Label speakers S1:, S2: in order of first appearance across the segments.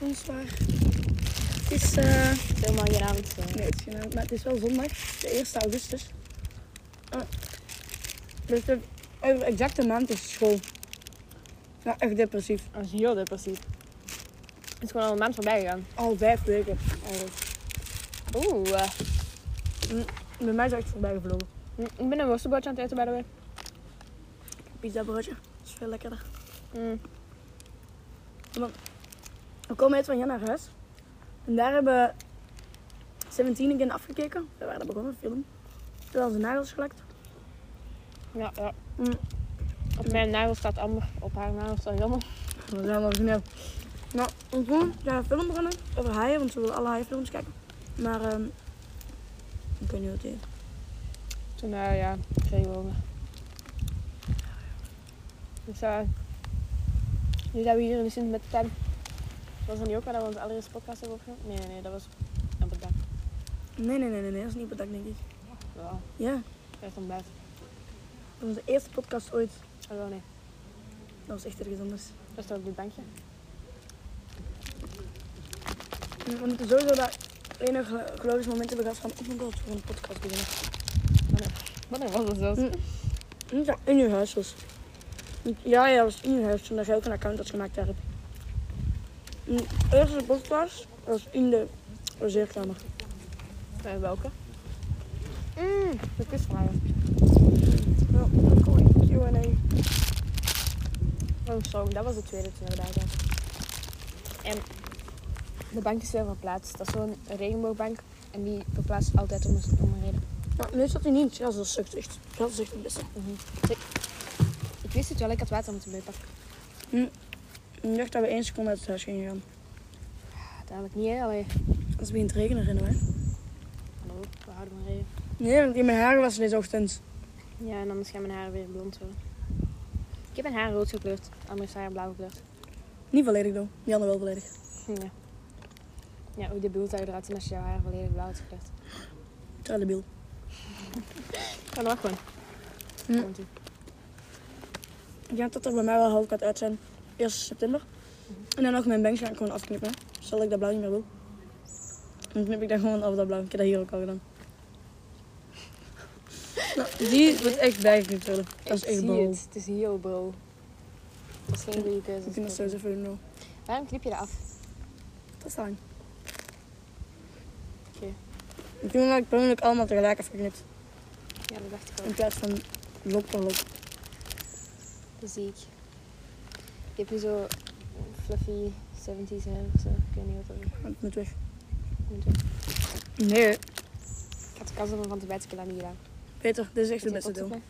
S1: onzwaar. Het is, eh,
S2: Helemaal genaamd. eh,
S1: nee, het is geen- maar het is wel zondag, de 1 augustus. Eh, dus de, over exacte maand is school. Nou, echt depressief.
S2: Dat is heel depressief. Het is gewoon al een maand voorbij gegaan.
S1: Al vijf weken. eigenlijk.
S2: Oeh. eh,
S1: Bij mij is het echt voorbij gevlogen.
S2: mm, ik ben een worstenbroodje aan het eten, by the way.
S1: Pizza broodje, dat is veel lekkerder.
S2: Mm.
S1: We komen net van Jan naar huis. En daar hebben 17 een keer afgekeken. We waren daar begonnen, film. Toen hadden ze nagels gelakt.
S2: Ja, ja.
S1: Mm.
S2: Op mijn nagels staat Amber. Op haar nagels staat Jammer.
S1: We zijn nog snel. Nou, en toen zijn we film begonnen over haaien, want ze willen alle haaienfilms kijken. Maar ehm ik weet niet wat het heet.
S2: Toen, eh, ja, regenbogen. Dus, eh, nu zijn we hier in de Sint met de tuin. Was dat niet ook waar dat we onze allereerste podcast hebben opgenomen? Nee, nee, nee, dat was op het dak.
S1: Nee, nee, nee, nee, nee, dat is niet op het dak, denk ik.
S2: Ja,
S1: Ja,
S2: echt ontbijt.
S1: dat was de eerste podcast ooit.
S2: Oh, wel, nee.
S1: Dat was echt ergens anders.
S2: Dat is toch op dit bankje?
S1: We moeten sowieso dat enige geloofsmoment hebben gehad van, oh mijn god, we gaan een podcast beginnen.
S2: Wanneer was dus dat zelfs?
S1: Mm. En Dat in uw huis was. Ja, ja, dat was in uw huis toen dat je ook een account had gemaakt daarop. En De Hm, eerste podcast was in de reservekamer.
S2: Eh, welke? Mm, de kustvragen.
S1: Ja, Q&A.
S2: Oh, sorry, dat was de tweede toen we daar zaten. En de bank is weer verplaatst. Dat is zo'n regenboogbank. En die verplaatst altijd om een, om een reden.
S1: Maar nu zat hij niet. Ja, dat sukt echt. Dat is echt het beste.
S2: Ik wist het wel, ik had water moeten meepakken.
S1: Ik dacht dat we één seconde uit het huis gingen gaan.
S2: Uiteindelijk niet, hè? Allee.
S1: Als het begint te regenen, rennen we.
S2: Hallo, we houden maar regen.
S1: Nee, want in mijn haar was deze ochtend.
S2: Ja, en anders gaan mijn haren weer blond worden. Ik heb mijn haar rood gekleurd. Amber is haar blauw gekleurd. Hm,
S1: Niet volledig, though. Janne wel volledig.
S2: Ja. Ja, hoe debiel zou je eruit zien als je jouw haar volledig blauw hebt gekleurd?
S1: Trillebiel.
S2: Kan dat gewoon.
S1: Hm.
S2: Komt ie.
S1: Ik denk dat er bij mij wel half gaat uit zijn. Eerst september. En dan nog mijn bangs ga ik gewoon afknippen. Stel dat ik dat blauw niet meer wil. Dan knip ik dat gewoon af, dat blauw. Ik heb dat hier ook al gedaan. Nou, die wordt echt bijgeknipt worden. Dat is
S2: Ik
S1: echt
S2: zie
S1: bol.
S2: het. Het is heel bro. Dat is geen goede
S1: We kunnen dat
S2: keuze.
S1: sowieso even doen.
S2: Waarom knip je dat af?
S1: Dat is lang.
S2: Oké.
S1: Ik doe dat ik per ongeluk allemaal tegelijk afgeknipt.
S2: Ja, dat dacht ik
S1: In
S2: ook.
S1: plaats van lok per lok.
S2: Dat zie ik. Je hebt nu zo fluffy 70s hair of zo. Ik weet niet wat dat is.
S1: Want het moet weg.
S2: Moet doen.
S1: Nee.
S2: Ik had de kans om ervan te bijten, ik heb dat niet gedaan.
S1: Peter, dit is echt
S2: Zit
S1: het beste
S2: je op te
S1: deel.
S2: knippen?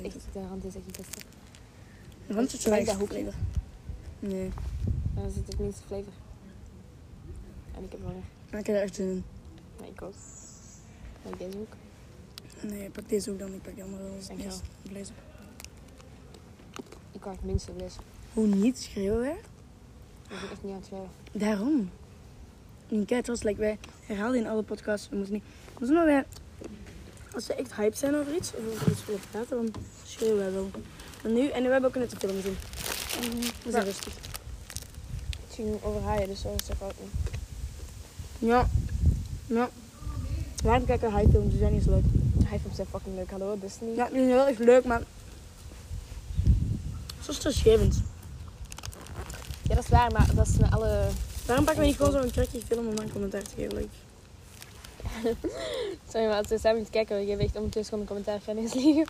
S2: Dat is echt, de rand is echt het beste.
S1: Want het
S2: Ik denk
S1: lijkt
S2: dat hoekje.
S1: hoekje. Nee,
S2: Maar dan zit het minste flavor. En ik heb honger.
S1: maar ik heb er echt zin in.
S2: Nee, ik ook. En deze ook.
S1: Nee, pak deze ook dan. Ik pak die andere wel eens
S2: Dankjewel.
S1: eerst. Vlees op.
S2: Ik kan het minste vlees.
S1: Hoe niet schreeuwen wij?
S2: Dat is echt niet aan het schrijven.
S1: Daarom. En kijk, zoals like, wij herhaalden in alle podcasts, we moeten niet... We moeten maar wij... Als we echt hyped zijn over iets, of over iets willen praten, dan schreeuwen wij wel. En nu, en nu hebben we ook net een film gezien. Dus We zijn
S2: Ja.
S1: rustig.
S2: Het ging over haaien, dus zo is dat ook niet.
S1: Ja. Ja. Waarom kijken high films? Die zijn niet zo leuk.
S2: Hij vond zijn fucking leuk. Hallo, Disney.
S1: Ja, die zijn wel echt leuk, maar... Zo is het schrijvend.
S2: Ja, dat is waar, maar dat is met alle...
S1: Waarom pakken we niet gewoon zo'n trekje film om dan commentaar te geven? Like,
S2: Sorry, maar als we samen aan het kijken, je hebt echt ondertussen gewoon een commentaar van eens liggen.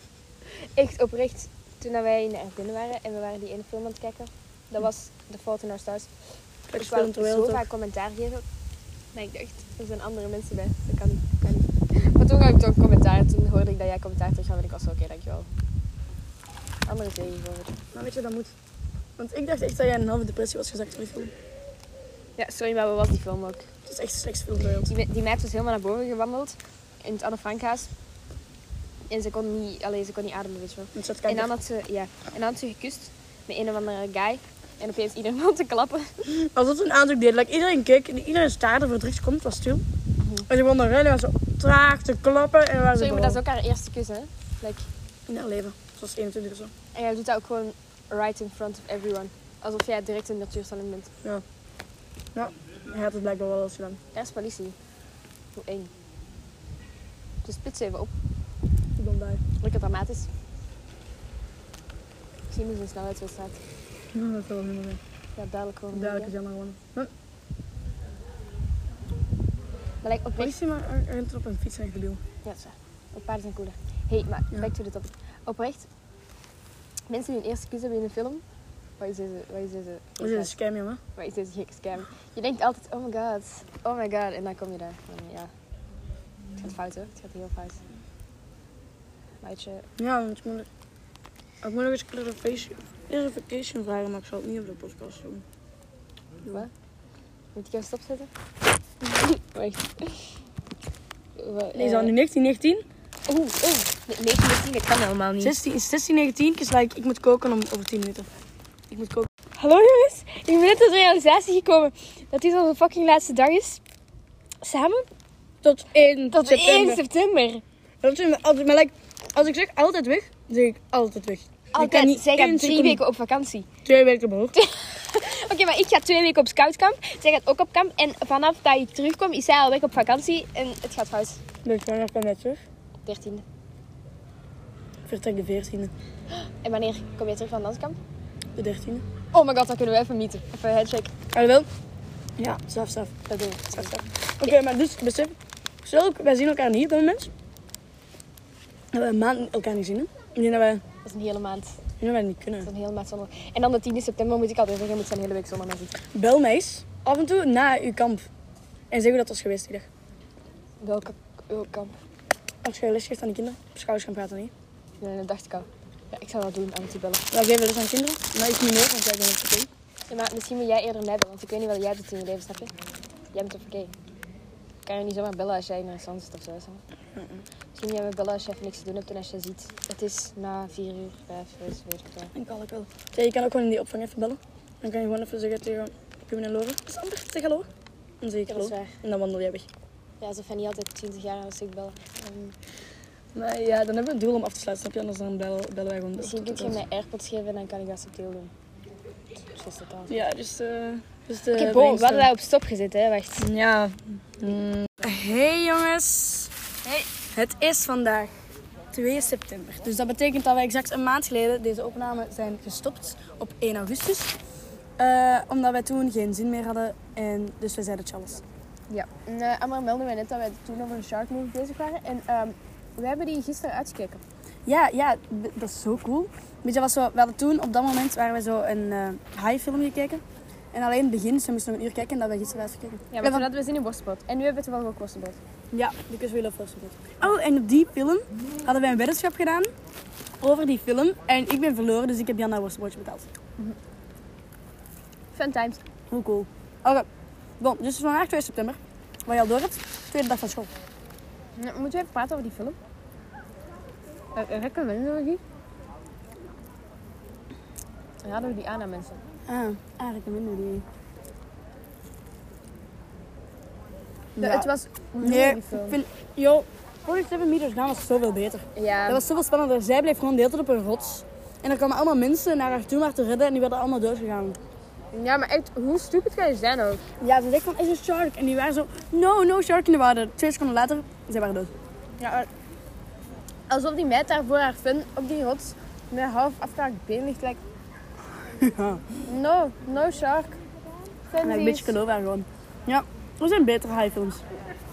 S2: echt oprecht, toen dat wij in de Ardennen waren en we waren die ene film aan het kijken, dat was The Fault in Our Stars.
S1: ik
S2: Ik
S1: speel
S2: wou
S1: hem terwijl
S2: zo
S1: toch?
S2: vaak commentaar geven. Maar ik dacht, er zijn andere mensen bij. Dat kan niet. Kan niet. Maar toen gaf ik toch commentaar. Toen hoorde ik dat jij commentaar terug had. En ik was zo, oké, dankjewel. Andere tegenwoordig.
S1: Maar weet je, dat moet. Want ik dacht echt dat jij in een halve depressie was gezakt van die film.
S2: Ja, sorry, maar wat was die film ook?
S1: Het is echt een slechts film bij ons.
S2: Die, me- die meid was helemaal naar boven gewandeld. In het Anne Frankhuis. En ze kon niet, allee, ze kon niet ademen, weet je wel.
S1: Want ze had
S2: En
S1: kanker.
S2: dan had ze, ja. En dan had ze gekust met een of andere guy. En opeens iedereen begon te klappen.
S1: Als dat een aanzoek deed, like, iedereen keek en iedereen staarde voor drie komt was stil. En ze begon te rennen, was zo traag te klappen en was
S2: Sorry, maar dat is ook haar eerste kus, hè. Like,
S1: in haar leven. Ze was 21 of zo.
S2: en jij doet dat ook gewoon right in front of everyone. Alsof jij direct een natuurtalent bent.
S1: Nou, hij had het blijkbaar wel eens gedaan.
S2: Er is politie. Hoe één. Dus spits even op.
S1: Ik ben blij.
S2: Lekker dramatisch. Misschien moeten we een snelheidswedstrijd.
S1: Ja, dat zal wel helemaal zijn.
S2: Ja, duidelijk gewoon.
S1: Duidelijk is
S2: ja.
S1: jammer gewonnen.
S2: Maar lijkt oprecht
S1: Politie maar er- rent op een fiets en debiel.
S2: Ja, dat is waar. Ook paarden zijn cooler. hey, maar
S1: Ja.
S2: back to the topic. Oprecht, mensen die hun eerste kies hebben in een film, wat is deze, wat is deze,
S1: Dat is een scam, jongen.
S2: wat is deze gekke scam? Je denkt altijd, oh my god, oh my god, en dan kom je daar. En ja, het gaat fout hoor, het gaat heel fout. Meidje,
S1: Ja, want ik moet, ik moet nog eens clarification, clarification vragen, maar ik zal het niet op de podcast doen.
S2: wat? Moet ik jou stopzetten? Wacht. Wa-
S1: Nee,
S2: eh,
S1: is dat nu 19, 19?
S2: Oeh, oeh, nee, 19, 19, dat kan helemaal niet.
S1: 16, 16, 19 is like, ik moet koken om, over 10 minuten. Ik moet koken. Hallo jongens!
S2: Ik ben net tot de realisatie gekomen dat dit onze fucking laatste dag is. Samen?
S1: Tot 1
S2: Tot
S1: september.
S2: 1 september.
S1: Dat is altijd, maar like, als ik zeg altijd weg, zeg ik altijd weg. Je kan
S2: Altijd.
S1: niet
S2: Zij
S1: één
S2: gaat drie
S1: seconde-
S2: weken op vakantie.
S1: Twee weken omhoog.
S2: Oké, maar ik ga twee weken op scoutkamp. Zij gaat ook op kamp. En vanaf dat ik terugkom, is zij al weg op vakantie. En het gaat fout.
S1: Dus vanaf kan net terug.
S2: 13.
S1: Vertrek de 14e,
S2: En wanneer kom je terug van danskamp?
S1: de 13e.
S2: Oh my god, dan kunnen we even meeten. Even handshake.
S1: Alhoewel? Ja, straf, straf.
S2: Dat doen we.
S1: Oké, maar dus besef. Stel, ook, wij zien elkaar niet op dat moment. Dat we een maand elkaar niet zien. hè. Ik denk dat wij, ik
S2: Dat is een hele maand. Dat
S1: denk dat wij niet kunnen.
S2: is een hele maand zonder. En dan de 10 september moet ik altijd zeggen, je moet zijn hele week zonder mij zitten.
S1: Bel mij eens af en toe na uw kamp. En zeg hoe dat was geweest die dag.
S2: Welke welk kamp?
S1: Als je les geeft aan de kinderen, op schouders gaan praten niet.
S2: Nee, dat dacht ik al. Ja, ik zou dat doen, aan het bellen.
S1: Wij geven les aan kinderen, maar iets niet meer, want wij doen het oké.
S2: Ja, maar misschien moet jij eerder mij bellen, want ik weet niet wat jij doet in je leven, snap je? Jij bent op verkeer. Ik kan je niet zomaar bellen als jij in een restaurant zit of zo. snap je? Misschien jij me bellen als je even niks te doen hebt en als je ziet. Het is na vier uur, vijf uur, weet ik wel.
S1: En kan ik wel. Zeg, je kan ook gewoon in die opvang even bellen. Dan kan je gewoon even zeggen tegen Ruben en Loren. Sander, zeg hallo. Dan zeg ik
S2: Ja, dat
S1: hallo.
S2: is waar.
S1: En dan wandel jij weg.
S2: Ja, alsof hij niet altijd 20 jaar als ik bellen. Ehm,
S1: Maar ja, dan hebben we een doel om af te sluiten, snap je? Anders dan bellen, bellen wij gewoon.
S2: misschien
S1: tot-
S2: kun je
S1: tot-
S2: mij airpods geven en dan kan ik dat subtiel doen. Zo is dat al. Oké,
S1: Ja, dus... eh dus de
S2: bon, we
S1: brainstorm.
S2: hadden daar op stop gezet, hè? Wacht.
S1: Ja. Mm. Hey jongens.
S2: Hey.
S1: Het is vandaag 2 september. Dus dat betekent dat we exact een maand geleden deze opname zijn gestopt op 1 augustus. Eh, omdat wij toen geen zin meer hadden en dus we zeiden Charles.
S2: Ja, en, eh, Amar meldde mij net dat wij toen over een shark move bezig waren. En ehm, we hebben die gisteren uitgekeken.
S1: Ja, ja, d- dat is zo cool. Weet je, dat was zo, we hadden toen, op dat moment, waren we zo een eh high film gekeken. En alleen het begin, dus we moesten nog een uur kijken en dat we gisteren uitgekeken.
S2: Ja,
S1: Ja,
S2: maar toen hadden we zin in worstbrood. En nu hebben we toevallig ook worstbrood.
S1: Ja, die kus wil voorstellen. Oh, en op die film hadden wij een weddenschap gedaan over die film. En ik ben verloren, dus ik heb Jan dat worstenbroodje betaald.
S2: Fun times.
S1: Hoe cool. Oké, bon, dus het is vandaag 2 september. Waar je al door hebt, tweede dag van school.
S2: Nou, Moeten we even praten over die film? Uh, recommenden we die? Raden we die aan aan mensen?
S1: Ah, eigenlijk een minder idee.
S2: Ja. Het was... hoe noem je
S1: Nee,
S2: die
S1: ik
S2: film?
S1: vind... Yo, 47 meters gaan was zoveel beter.
S2: Ja,
S1: Dat was zoveel spannender. Zij bleef gewoon de hele tijd op een rots. En er kwamen allemaal mensen naar haar toe om haar te redden en die werden allemaal doodgegaan.
S2: ja, maar echt, hoe stupid kan je zijn ook?
S1: Ja, ze zegt van, is een shark? En die waren zo, no, no shark in the water. Twee seconden later, zij waren dood.
S2: Ja, alsof die meid daar voor haar fun op die rots met een half afgehaakt been ligt. Like, no, no shark.
S1: Ja,
S2: Funsies.
S1: een beetje cadeau waren gewoon. Ja, dat zijn betere highfilms.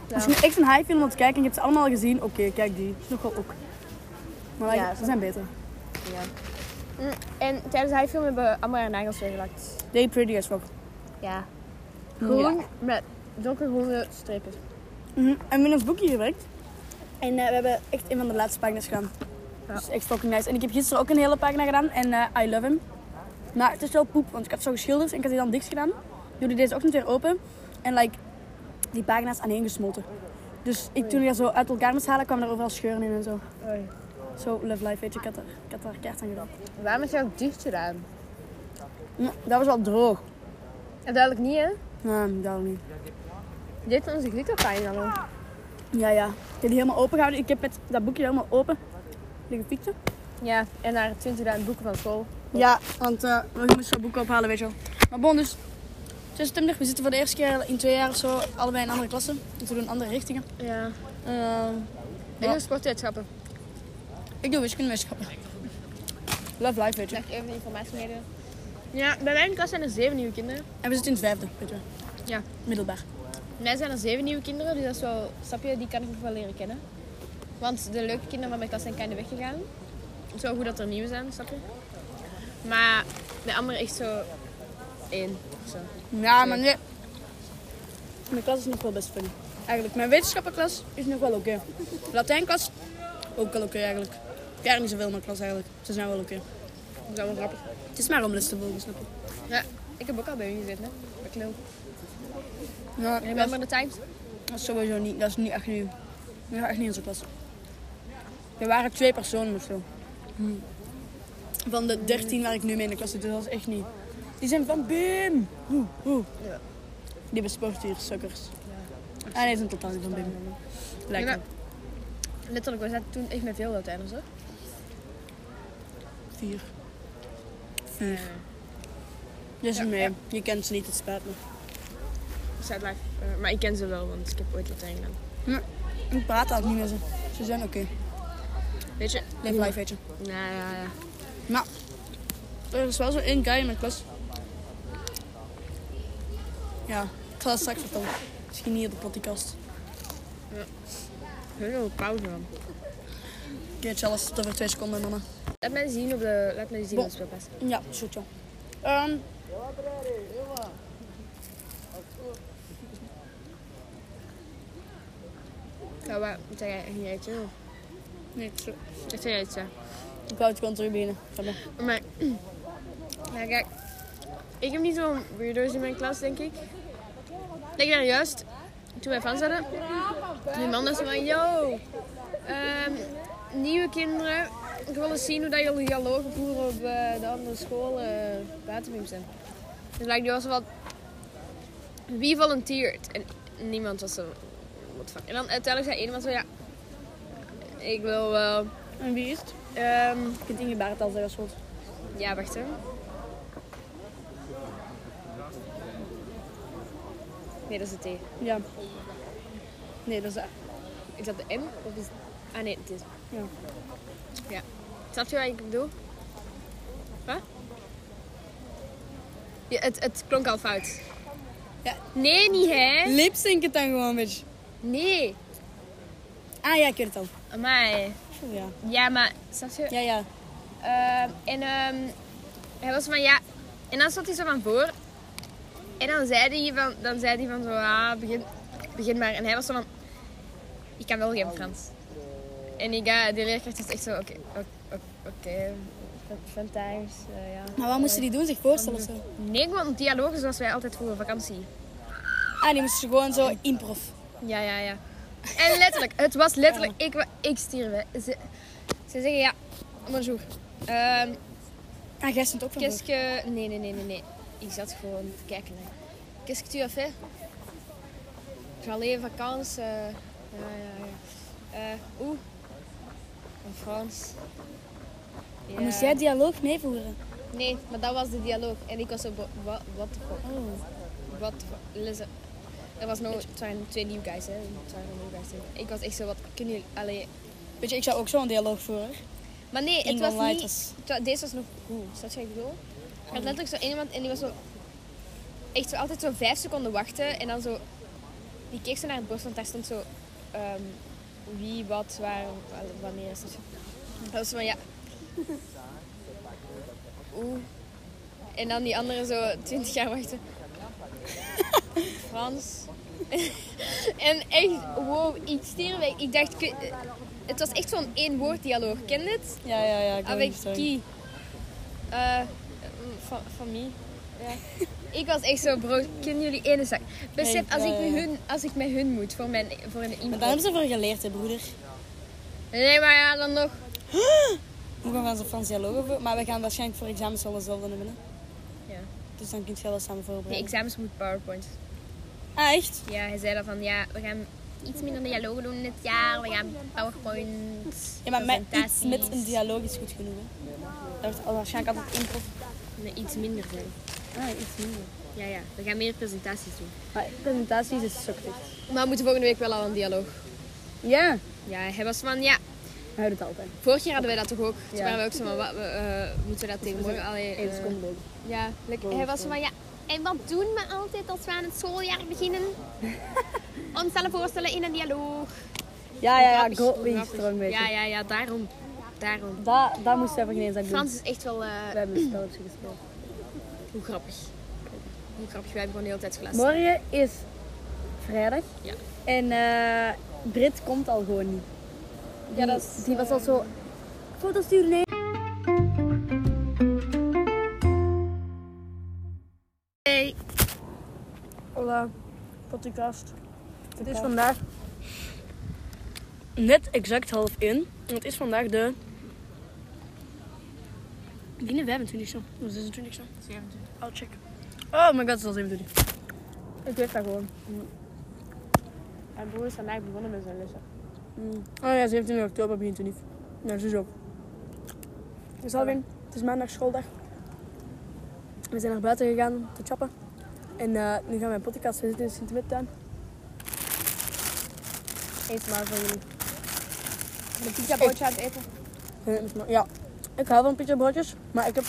S2: Ja.
S1: Als je nu echt een highfilm wilt kijken en je hebt ze allemaal al gezien, oké, kijk die. Is nog wel ook. Maar like,
S2: Ja,
S1: ze zijn beter.
S2: Ja. Mm, En tijdens haar film hebben we allemaal haar nagels weergelakt.
S1: They pretty as fuck.
S2: Ja.
S1: Groen
S2: Groen met donkergroene strepen.
S1: Mhm. En we hebben in ons boekje gewerkt. En eh, we hebben echt een van de laatste pagina's gedaan.
S2: Ja.
S1: Dat is echt fucking nice. En ik heb gisteren ook een hele pagina gedaan en eh, I love him. Maar het is wel poep, want ik had zo geschilderd en ik had die dan dicht gedaan. Doe die deze ochtend weer open. En like, die pagina's aaneengesmolten. Dus ik, toen ik dat zo uit elkaar moest halen, kwam er overal scheuren in en zo. Zo, Love Life, weet je, ik had er, ik had er kaart aan gedaan.
S2: Waarom is jouw dicht gedaan?
S1: Mm, Dat was wel droog.
S2: En duidelijk niet, hè?
S1: Nee, dat niet.
S2: Dit is onze glitterpijn dan. ook.
S1: Ja, ja. Ik heb die helemaal open gehouden. Ik heb met dat boekje helemaal open liggen fietsen.
S2: Ja, en naar 20.000 boeken van school.
S1: Ja, want eh we moesten boeken ophalen, weet je wel. Maar bon, dus tussen Tim we zitten voor de eerste keer in twee jaar of zo, allebei in andere klassen. Dus we doen andere richtingen.
S3: Ja. Ehm,
S1: Eh,
S3: Ik doe sportwetenschappen.
S1: ik doe wiskundewetenschappen. Love life, weet je.
S3: ik even informatie meedoen. Ja, bij mijn klas zijn er zeven nieuwe kinderen.
S1: En we zitten in het vijfde, weet je wel.
S3: Ja.
S1: Middelbaar.
S3: Bij mij zijn er zeven nieuwe kinderen, dus dat is wel, snap je, die kan ik nog wel leren kennen. Want de leuke kinderen van mijn klas zijn kinder weggegaan. Het is wel goed dat er nieuwe zijn, snap je? Maar de andere echt zo één of zo.
S1: Ja, maar nee. Mijn klas is nog wel best funny. Eigenlijk, mijn wetenschappenklas is nog wel oké. Latijnklas, ook wel oké eigenlijk. Ik heb eigenlijk niet zoveel in mijn klas eigenlijk. Ze zijn wel oké.
S3: Dat is allemaal grappig.
S1: Het is maar om les te volgen, snap je?
S3: Ja, ik heb ook al bij hun gezeten, hè. Bij Knul.
S1: Ja, dat, is,
S3: Remember the times?
S1: dat is sowieso niet, dat is niet echt nieuw. Dat is echt niet onze klas. Er waren twee personen of zo. Van de dertien waar ik nu mee in de klas zit, dus dat is echt niet. Die zijn van BIM! Oeh, oeh.
S3: Ja.
S1: Die besporten hier, sukkers. Ah nee, het is een totaal niet van BIM. Lijkt
S3: Ja,
S1: me.
S3: Letterlijk, we zaten toen echt met veel Latijners, hè.
S1: Vier. Vier. Dus
S3: Ja,
S1: nee,
S3: ja.
S1: je kent ze niet, het spijt me.
S3: Sad life. Eh, maar ik ken ze wel, want ik heb ooit Latijn gedaan.
S1: Ik praat altijd niet met ze. Ze zijn oké.
S3: Weet je?
S1: Live life, weet je.
S3: Nou ja,
S1: Maar
S3: ja.
S1: Nou, er is wel zo één guy in mijn klas. Ja, ik ga dat straks vertellen. Misschien niet op de podcast.
S3: We hebben wel pauze, man.
S1: Oké, Charles, tot over twee seconden, mama.
S3: Laat mij zien op de... Laat mij zien
S1: Bon.
S3: op de speelpas.
S1: Ja, zoet joh. Ehm.
S3: Nou, waar... Wat zei jij? Ging jij iets, joh?
S1: nee, zo.
S3: Wat zei jij iets, ja?
S1: Ik wou het gewoon terug binnen. Ga maar.
S3: Maar... Nou, kijk. Ik heb niet zo'n weirdo's in mijn klas, denk ik. Ik ben juist... Toen wij van zaten... Die man was van... Yo! ehm, nieuwe kinderen. Ik wil eens zien hoe dat jullie dialogen voeren op eh, de andere school. eh buiten zijn. Dus like, die was wat... Wie volunteert? En niemand was zo... What the fuck. En dan uiteindelijk zei iemand zo... Ja... Ik wil wel...
S1: En wie is het?
S3: ehm,
S1: Ik heb Inge Barend al zeggen, schot.
S3: ja, wacht hè. Nee, dat is E. de T.
S1: Ja. Nee, dat is.
S3: Is dat de M? Of is... Ah nee, het is...
S1: Ja.
S3: Ja. Snap je wat ik bedoel? Wat? Ja, het, het klonk al fout.
S1: Ja.
S3: Nee, niet hè?
S1: Lipsync het dan gewoon een beetje.
S3: Nee.
S1: Ah ja, ik weet het al.
S3: Amai.
S1: Ja,
S3: Ja, maar... Snap je?
S1: ja. ja.
S3: Ehm, en ehm, hij was van ja. En dan zat hij zo van voor. En dan zei hij van, dan zei hij van zo, ah, begin, begin maar. En hij was zo van, ik kan wel geen Frans. En die, guy, die leerkracht was echt zo, oké, oké, oké, Fran- Frantijns, eh, ja.
S1: Maar wat moesten die doen? Zich voorstellen of zo?
S3: Nee, gewoon dialogen zoals wij altijd voeren, vakantie.
S1: Ah, die moesten gewoon zo improv.
S3: Ja, ja, ja. En letterlijk, het was letterlijk, ik, wa- ik stierf. hè. Ze, ze zeggen ja, bonjour. Ehm,
S1: Ah, jij stond ook van
S3: Qu'est-ce que... Nee, nee, nee, nee, nee. Ik zat gewoon te kijken. hè. Qu'est-ce que tu as fait? J'allais en vacances. eh, ja, ja, ja. Eh, Oeh. In Frans. Ja.
S1: voor. Moest jij dialoog meevoeren?
S3: euh, Nee, maar dat was de dialoog. En ik was zo... bo- wa- What the fuck?
S1: Oh.
S3: What the fuck? Listen. Er was nog... Het waren twee nieuwe guys, hè. Het waren nog nieuwe guys. hè. Ik was echt zo... Wat kunnen jullie... Allee...
S1: Weet je, ik zou ook zo'n dialoog voeren.
S3: Maar nee, het
S1: Iemand
S3: was
S1: light
S3: niet...
S1: was-
S3: het wa- Deze was nog goed, snap je wat ik bedoel? Er had letterlijk zo één iemand en die was zo... Echt zo altijd zo vijf seconden wachten en dan zo... Die keek zo naar het bord, want daar stond zo... ehm, wie, wat, waar, wa- wanneer, snap je? Dat was zo van, ja... Oeh. En dan die andere zo twintig jaar wachten. Frans. en echt, wow, ik stierf weg. Ik dacht... kun- eh, Het was echt zo'n één woord dialoog, ken je het?
S1: Ja, ja, ja. Ik
S3: Avec qui? Eh, fa- familie. Ja. ik was echt zo, bro, kennen jullie ene zak? Besef,
S1: Nee,
S3: als ik,
S1: eh,
S3: met hun, als ik met hun moet voor, mijn, voor een
S1: Maar
S3: iemand.
S1: daar hebben ze voor geleerd, hè, broeder.
S3: Nee, maar ja, dan nog.
S1: Hoe gaan we zo'n Frans dialoog over? Maar we gaan waarschijnlijk voor examens wel hetzelfde hebben, hè?
S3: Ja.
S1: Dus dan kun je wel samen
S3: Nee,
S1: voorbereiden.
S3: examens moet PowerPoint.
S1: Ah, echt?
S3: Ja, hij zei dan van, ja, we gaan
S4: iets minder dialogen doen dit jaar. We gaan PowerPoint.
S1: Ja, maar met, iets,
S4: presentaties.
S1: met een dialoog is goed genoeg. Hè. Dat wordt al- waarschijnlijk altijd één prof.
S4: Nee, iets minder zijn.
S1: Ah, iets minder.
S4: Ja, ja. We gaan meer presentaties doen.
S1: Maar presentaties is suktig.
S4: Maar we moeten volgende week wel al een dialoog.
S1: Ja,
S4: Ja, hij was van ja.
S1: hij doet het altijd.
S4: Vorig jaar hadden wij dat toch ook. Toen
S1: Ja.
S4: waren we ook zo van, wat, we, eh, moeten we dat tegenwoordig allee,
S1: Eén
S4: eh,
S1: seconde leuk.
S4: Ja, hij was zo van ja. En wat doen we altijd als we aan het schooljaar beginnen? Onszelf voorstellen in een dialoog.
S1: Ja, ja, ja,
S4: Grappig,
S1: Gottlieb
S4: grappig.
S1: stroom beetje.
S4: Ja, ja, ja, daarom. Daarom.
S1: Daar, daar moest je even geen eens aan doen.
S4: Frans is echt wel. eh,
S1: We hebben een spelletje gespeeld.
S4: hoe grappig. Hoe grappig, wij hebben gewoon de hele tijd gelassen.
S1: Morgen is vrijdag.
S4: Ja.
S1: En eh Brit komt al gewoon niet. Die, ja, dat eh, die was al zo... Foto's sturen, nee.
S4: Hey.
S1: Hola, podcast. Het is vandaag net exact half in. Het is vandaag de... Ik denk de 25 zo. Of 26 zo.
S4: 27.
S1: Oh, check. Oh my god, het is al 27. Ik weet dat gewoon.
S3: Mijn broer is vandaag begonnen met zijn lessen.
S1: Oh ja, 17 oktober begint het niet. Ja, zo is ook. Dus Alwin, het is maandag schooldag. We zijn naar buiten gegaan te chappen. En eh, nu gaan we een podcast zitten in de Sint-Midtuin. Eet maar van jullie.
S3: Met pizza broodje aan het eten.
S1: Eh, is maar- Ja, ik hou van pizza broodjes, maar ik, heb,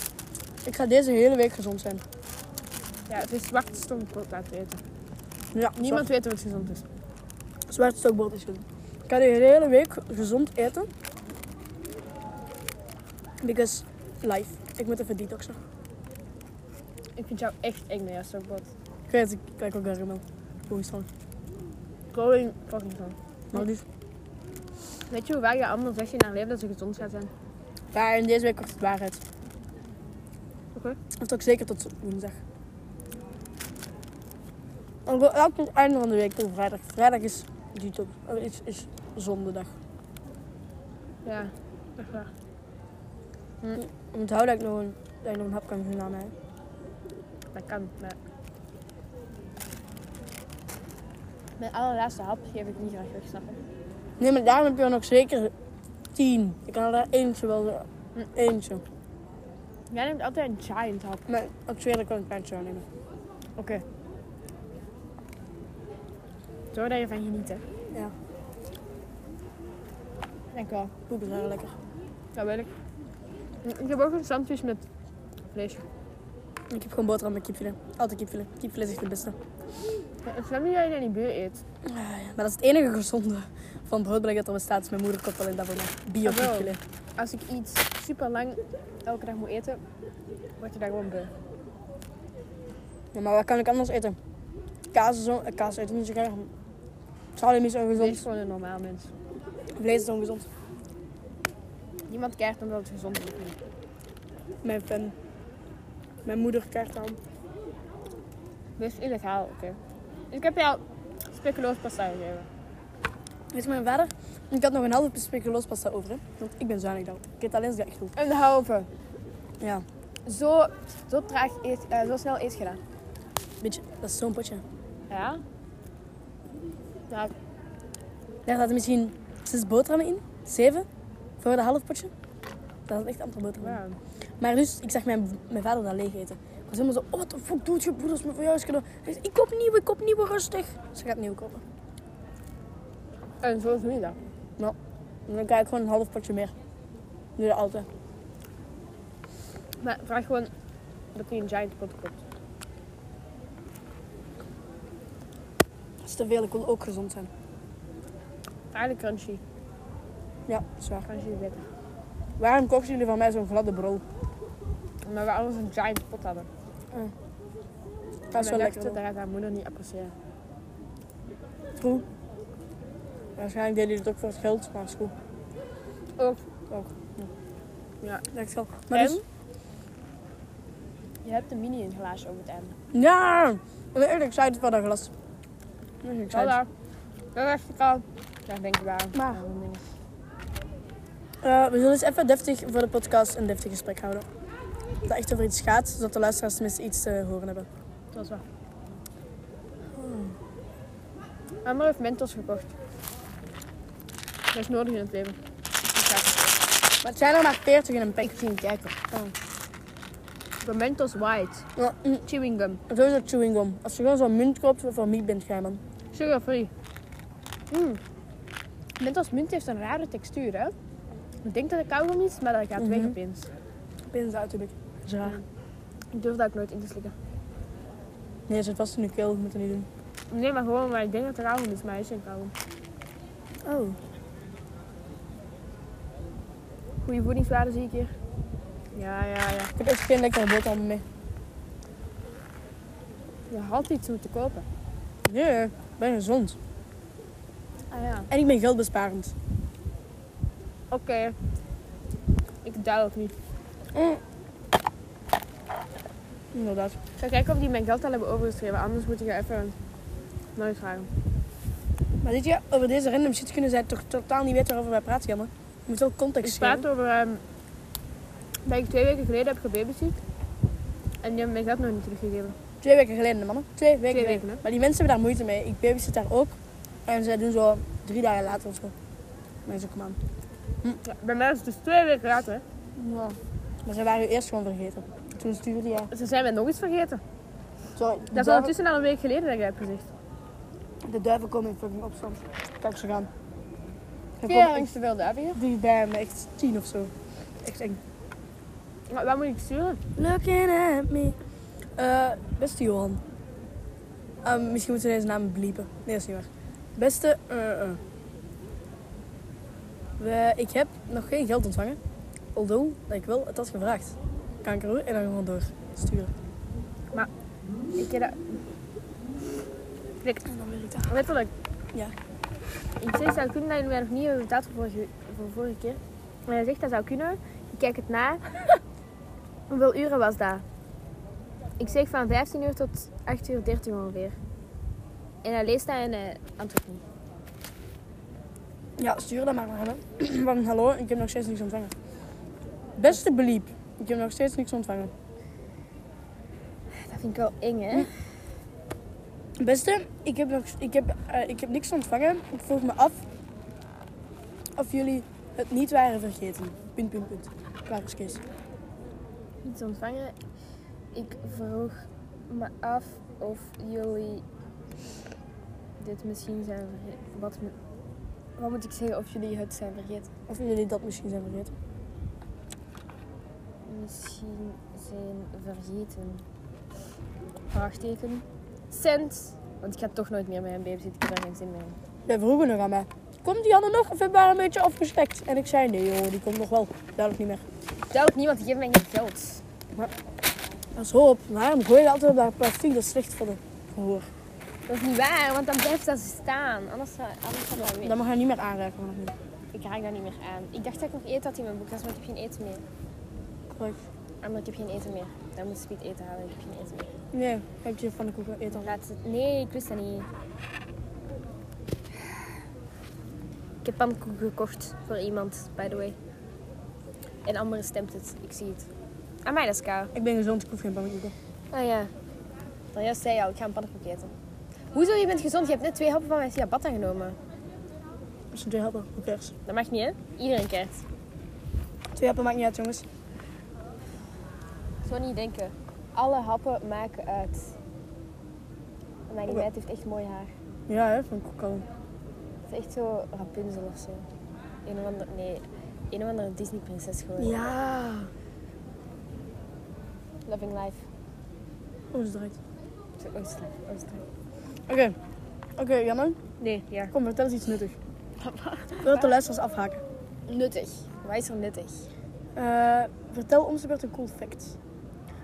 S1: ik ga deze hele week gezond zijn.
S3: Ja, het is zwart stonkbrood aan het eten.
S1: Ja,
S3: Niemand weet of het gezond is.
S1: zwart, zwart stokbrood is goed. Ik ga de hele week gezond eten. Because life. Ik moet even detoxen.
S3: Ik vind jou echt eng, ja, stonkbrood.
S1: Ik weet, ik kijk ook naar Rimmel. Volgens van.
S3: Going fucking van.
S1: Maar dus.
S3: Weet je hoe vaak je allemaal zegt in haar leven dat ze gezond gaat zijn?
S1: Ja, en deze week wordt het waarheid.
S3: Oké.
S1: Dat ook zeker tot woensdag. En wel- Elk tot einde van de week tot vrijdag. Vrijdag is die top. oh, Is, is zondag.
S3: Ja, echt waar.
S1: Onthoud dat ik nog een, dat ik nog een hap kan gaan hè.
S3: Dat kan, maar... Mijn allerlaatste hap geef ik niet graag weg, snap je?
S1: Nee, maar daarom heb je er nog zeker tien. Ik kan er daar eentje wel. eh, Eentje.
S3: Jij neemt altijd een giant hap.
S1: Maar ik zweer dat ik wel een kleintje zou nemen.
S3: Oké. Zo dat je van geniet, hè?
S1: Ja,
S3: Dank wel.
S1: poep is wel lekker.
S3: Dat weet ik. Ik heb ook een sandwich met vlees.
S1: Ik heb gewoon boterham met kipfilet. Altijd kipfilet. Kipfilet is echt de beste.
S3: Ik snap niet dat je dat niet buur eet.
S1: Ah, Maar dat is het enige gezonde van broodbeleg dat er bestaat. Is mijn moeder koopt alleen dat voor mij. Bio
S3: Ah, wel.
S1: kipfilet.
S3: Als ik iets super lang elke dag moet eten, word je daar gewoon beu.
S1: Ja, maar wat kan ik anders eten? Kaas, is zo, eh, kaas eten niet zo graag. Salem is
S3: Vlees is
S1: ongezond.
S3: gewoon een normaal mens.
S1: Vlees is ongezond.
S3: Niemand krijgt omdat het gezond is. of niet.
S1: Mijn fan. Mijn moeder krijgt dan.
S3: Best illegaal, oké. Dus Ik heb jou speculoos pasta gegeven.
S1: Weet je, mijn vader? Ik had nog een halve speculoos pasta over. Hè? Want ik ben zuinig dan. Ik eet alleen als ik dat echt doe.
S3: Een halve.
S1: Ja,
S3: Zo, zo traag eet, eh, zo snel eet gedaan.
S1: beetje. Dat is zo'n potje.
S3: Ja? Ja,
S1: Daar zaten misschien zes boterhammen in. Zeven. Voor de half potje. Daar zat echt amper boterham in.
S3: ja.
S1: Maar dus, ik zag mijn, mijn vader dat leeg eten. Ik was helemaal zo, oh, wat de fuck doet je broeders met verjaarscadeau? Hij zei, ik koop nieuwe, ik koop nieuwe, rustig. Ze gaat nieuw kopen.
S3: En zo doe je dat.
S1: Nou, dan krijg ik gewoon een half potje meer. Nu dat altijd.
S3: Maar vraag gewoon dat hij een giant pot koopt.
S1: Dat is te veel, ik wil ook gezond zijn.
S3: Eigenlijk crunchy.
S1: Ja, dat is waar.
S3: Crunchy is beter.
S1: Waarom kopen jullie van mij zo'n gladde brol?
S3: Omdat we alles een giant pot hadden.
S1: Dat is wel lekker.
S3: Dat gaat haar moeder niet appreciëren.
S1: hoor. True. Waarschijnlijk deden jullie het ook voor het geld, maar is goed.
S3: Ook.
S1: Ook.
S3: Ja.
S1: Dat is wel. Maar dus,
S3: Je hebt een mini in glaasje op het einde.
S1: ja, ik ben echt excited van dat glas. Ik ben echt excited.
S3: Voilà. Dat dacht ik al. Daar denk ik wel.
S1: Maar-
S3: Ja, dat denk ik.
S1: Eh, we zullen eens even deftig voor de podcast een deftig gesprek houden. Dat echt over iets gaat, zodat de luisteraars tenminste iets te horen hebben.
S3: Dat is waar. Amber heeft Mentos gekocht. Dat is nodig in het leven.
S1: Maar het zijn er maar 40 in een pak. Ik ging kijken.
S3: Pimentos white.
S1: Ja, mm,
S3: Chewing gum.
S1: sowieso chewing gum. Als je gewoon zo'n munt koopt waarvan niet bent, ga je man.
S3: Sugar free. Mm. Mentos munt heeft een rare textuur, hè? Ik denk dat het kauwgom is, maar dat gaat weg opeens.
S1: Pins uit heb ik. Ja.
S3: Ik durf dat ook nooit in te slikken.
S1: Nee, zit vast in je keel. Moet dat niet doen.
S3: Nee, maar gewoon, maar ik denk dat het kauwgom is, maar het is geen kauwgom.
S1: Oh.
S3: Goede voedingswaarde zie ik hier. Ja, ja, ja.
S1: Ik heb echt geen lekkere boterham mee.
S3: Je had iets moeten kopen.
S1: Nee, ik ben gezond.
S3: Ah ja.
S1: En ik ben geldbesparend.
S3: Oké. Ik duil het niet.
S1: Inderdaad.
S3: Ik ga kijken of die mijn geld al hebben overgeschreven, anders moet ik er even nooit vragen.
S1: Maar dit je, over deze random shit kunnen zij toch totaal niet weten waarover wij praten, jammer. Je moet wel
S3: Ik
S1: context
S3: praat
S1: geven.
S3: over ehm, dat ik twee weken geleden heb gebabysit. En die hebben mijn geld nog niet teruggegeven.
S1: Twee weken geleden, mannen. Twee weken
S3: Twee
S1: geleden.
S3: weken, hè?
S1: Maar die mensen hebben daar moeite mee. Ik babysit daar ook. En zij doen zo drie dagen later of zo. Mensen, kom aan.
S3: Ja, bij mij is het dus twee weken later. hè.
S1: Ja. Maar ze waren u eerst gewoon vergeten. Toen stuurde jij.
S3: Ze zijn mij nog eens vergeten.
S1: Sorry, de,
S3: Dat is dus-
S1: duiven,
S3: ondertussen al een week geleden dat ik dat heb gezegd.
S1: de duiven komen in fucking opstand. Kijk ze gaan. Ze komen
S3: langs de wilde hier.
S1: echt dichtbij me, echt tien of zo. Echt eng.
S3: Waar, waar moet ik sturen?
S1: Looking at me. Eh, beste Johan. Ah, misschien moeten we deze naam bliepen. Nee, dat is niet waar. Beste. eh, eh. We, ik heb nog geen geld ontvangen. Although dat ik wel het had gevraagd. Kankeroer en dan gewoon door sturen.
S3: Ik heb dat... Kijk,
S1: En dan werkt dat.
S3: letterlijk.
S1: Ja.
S3: Ik zeg, zou kunnen dat jullie mij nog niet hebben betaald voor vorige, voor vorige keer. Maar hij zegt, dat zou kunnen. Ik kijk het na. Hoeveel uren was dat? Ik zeg van 15 uur tot 8 uur 30 ongeveer. En hij leest dat en hij antwoordt niet.
S1: Ja, stuur dat maar maar. hè. Want hallo, ik heb nog steeds niks ontvangen. Beste bliep. Ik heb nog steeds niks ontvangen.
S3: Dat vind ik wel eng, hè?
S1: Beste, ik heb, nog, ik, heb, eh, ik heb niks ontvangen. Ik vroeg me af of jullie het niet waren vergeten. Punt, punt, punt. Klaar is Kees.
S3: Iets ontvangen. Ik vroeg me af of jullie dit misschien zijn vergeten. Wat, me- wat moet ik zeggen of jullie het zijn vergeten?
S1: Of jullie dat misschien zijn vergeten.
S3: Misschien zijn vergeten. Vraagteken. Cent. Want ik ga toch nooit meer met een baby zitten. Ik heb daar geen zin meer in.
S1: Wij vroegen nog aan mij. Komt die Anne nog of hebben we haar een beetje afgespekt? En ik zei, nee joh, die komt nog wel. Duidelijk niet meer.
S3: Duidelijk niemand geeft mij geen geld.
S1: Dat is hoop. Waarom gooi je altijd op dat plastic? Dat is slecht voor de gehoor.
S3: Dat is niet waar, want dan blijft dat staan. Anders, zou- anders gaat dat weer.
S1: Dat mag je niet meer aanraken vanaf nu.
S3: Ik raak daar niet meer aan. Ik dacht dat ik nog eten had in mijn boektas, maar ik heb geen eten meer.
S1: Correct.
S3: Ah, maar ik heb geen eten meer. Dan moet Speed eten halen. Ik heb geen eten meer.
S1: Nee, heb je van de koeken eten.
S3: Laat het... Nee, ik wist dat niet. Ik heb pannenkoeken gekocht voor iemand, by the way. En anderen stemt het. Ik zie het. Aan mij dat is kaal.
S1: Ik ben gezond, ik hoef geen pannenkoeken.
S3: Oh ja. Dan juist zei je al, ik ga een pannenkoek eten. Hoezo, je bent gezond? Je hebt net twee happen van mijn ciabatta genomen.
S1: Dat zijn twee happen, hoe cares?
S3: Dat mag niet, hè? Iedereen krijgt.
S1: Twee happen maakt niet uit, jongens.
S3: Zo niet denken. Alle happen maken uit. Maar die meid heeft echt mooi haar.
S1: Ja, hè, van koeken.
S3: Het is echt zo Rapunzel of zo. Een of andere, nee, een of andere Disney prinses geworden.
S1: Ja.
S3: Loving Life.
S1: Oh, is het direct.
S3: Zo, Oh, is het life, oh, is het life.
S1: Oké. Oké, Janne.
S3: Nee, ja.
S1: Kom, vertel eens iets nuttigs. Voordat de luisteraars afhaken.
S3: Nuttig. Wat is er nuttig?
S1: Eh, vertel om de beurt een cool fact.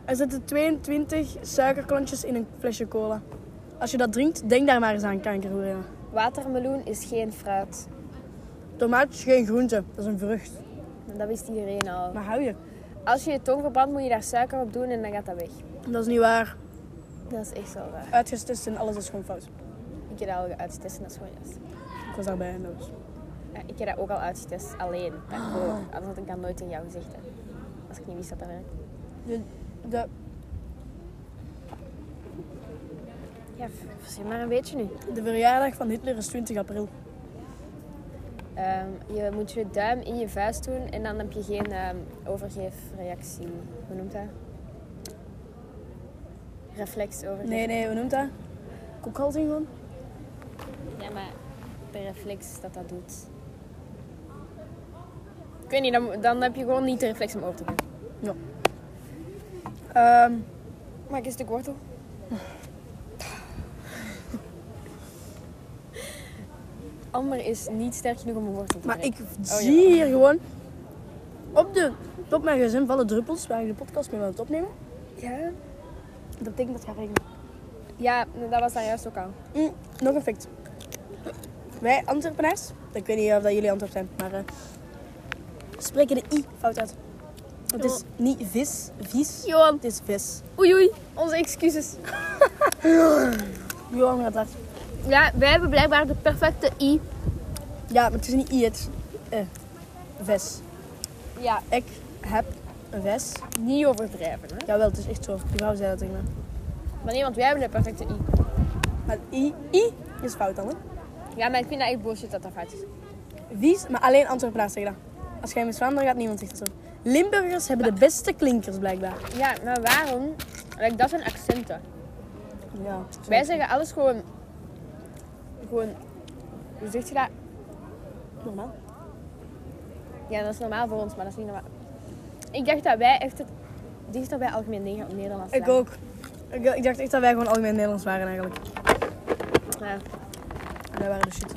S1: Er zitten 22 suikerklontjes in een flesje cola. Als je dat drinkt, denk daar maar eens aan, kanker. Ja.
S3: Watermeloen is geen fruit.
S1: Tomaat is geen groente, dat is een vrucht.
S3: Dat wist iedereen al.
S1: Maar hou je.
S3: Als je je tong verbrandt, moet je daar suiker op doen en dan gaat dat weg.
S1: Dat is niet waar.
S3: Dat is echt zo raar.
S1: Uitgetest en alles is gewoon fout.
S3: Ik heb dat al uitgetest en dat is gewoon juist.
S1: Ik was daarbij en dat was...
S3: Ja, Ik heb dat ook al uitgetest, alleen. Daarvoor. Anders had ik dat nooit in jou gezegd. hè. Als ik niet wist dat dat werkt.
S1: De, de,
S3: Ja, verzin maar een beetje nu.
S1: de verjaardag van Hitler is 20 april.
S3: Ehm, je moet je duim in je vuist doen en dan heb je geen ehm, overgeefreactie. Hoe noemt dat? Reflex overgeef.
S1: Nee, nee, hoe noemt dat? Kokhalzing gewoon?
S3: Ja, maar de reflex dat dat doet. Ik weet niet, dan, dan heb je gewoon niet de reflex om over te gaan.
S1: Ehm,
S3: Maar ik een stuk wortel. Amber is niet sterk genoeg om een wortel te
S1: maar ik
S3: breken.
S1: zie hier gewoon... Op, de, op mijn gezin vallen druppels waar ik de podcast mee wil het opnemen.
S3: Ja?
S1: Dat betekent dat het gaat regenen.
S3: Ja, dat was daar juist ook al.
S1: Mm, nog een fact. Wij Antwerpenaars, ik weet niet of dat jullie Antwerp zijn, maar... eh, spreken de i fout uit. Het is niet vis, vies.
S5: Johan,
S1: Het is vis.
S5: oei oei, onze excuses.
S1: Johan gaat hard.
S5: Ja, wij hebben blijkbaar de perfecte i.
S1: Ja, maar het is niet i, het is eh, vis.
S3: Ja,
S1: Ik heb een vis.
S3: niet overdrijven. Hè?
S1: Jawel, het is echt zo. Die vrouw zei dat tegen mij.
S3: Maar nee, want wij hebben de perfecte i.
S1: Maar i, i is fout dan, hè?
S3: Ja, maar ik vind dat echt bullshit dat dat fout is.
S1: Vies, maar alleen Antwerpenaars zeggen dat. Als jij met Vlaanderen gaat, niemand zegt dat zo. Limburgers hebben de beste klinkers, blijkbaar.
S3: Ja, maar waarom? Like, dat zijn accenten.
S1: Ja.
S3: Wij zeggen alles gewoon... Gewoon... Hoe zeg je dat?
S1: Normaal.
S3: Ja, dat is normaal voor ons, maar dat is niet normaal. Ik dacht dat wij echt het dichter bij algemeen Nege- Nederlands
S1: Ik
S3: waren.
S1: ook. Ik, ik dacht echt dat wij gewoon algemeen Nederlands waren, eigenlijk.
S3: Ja.
S1: Wij waren de shit.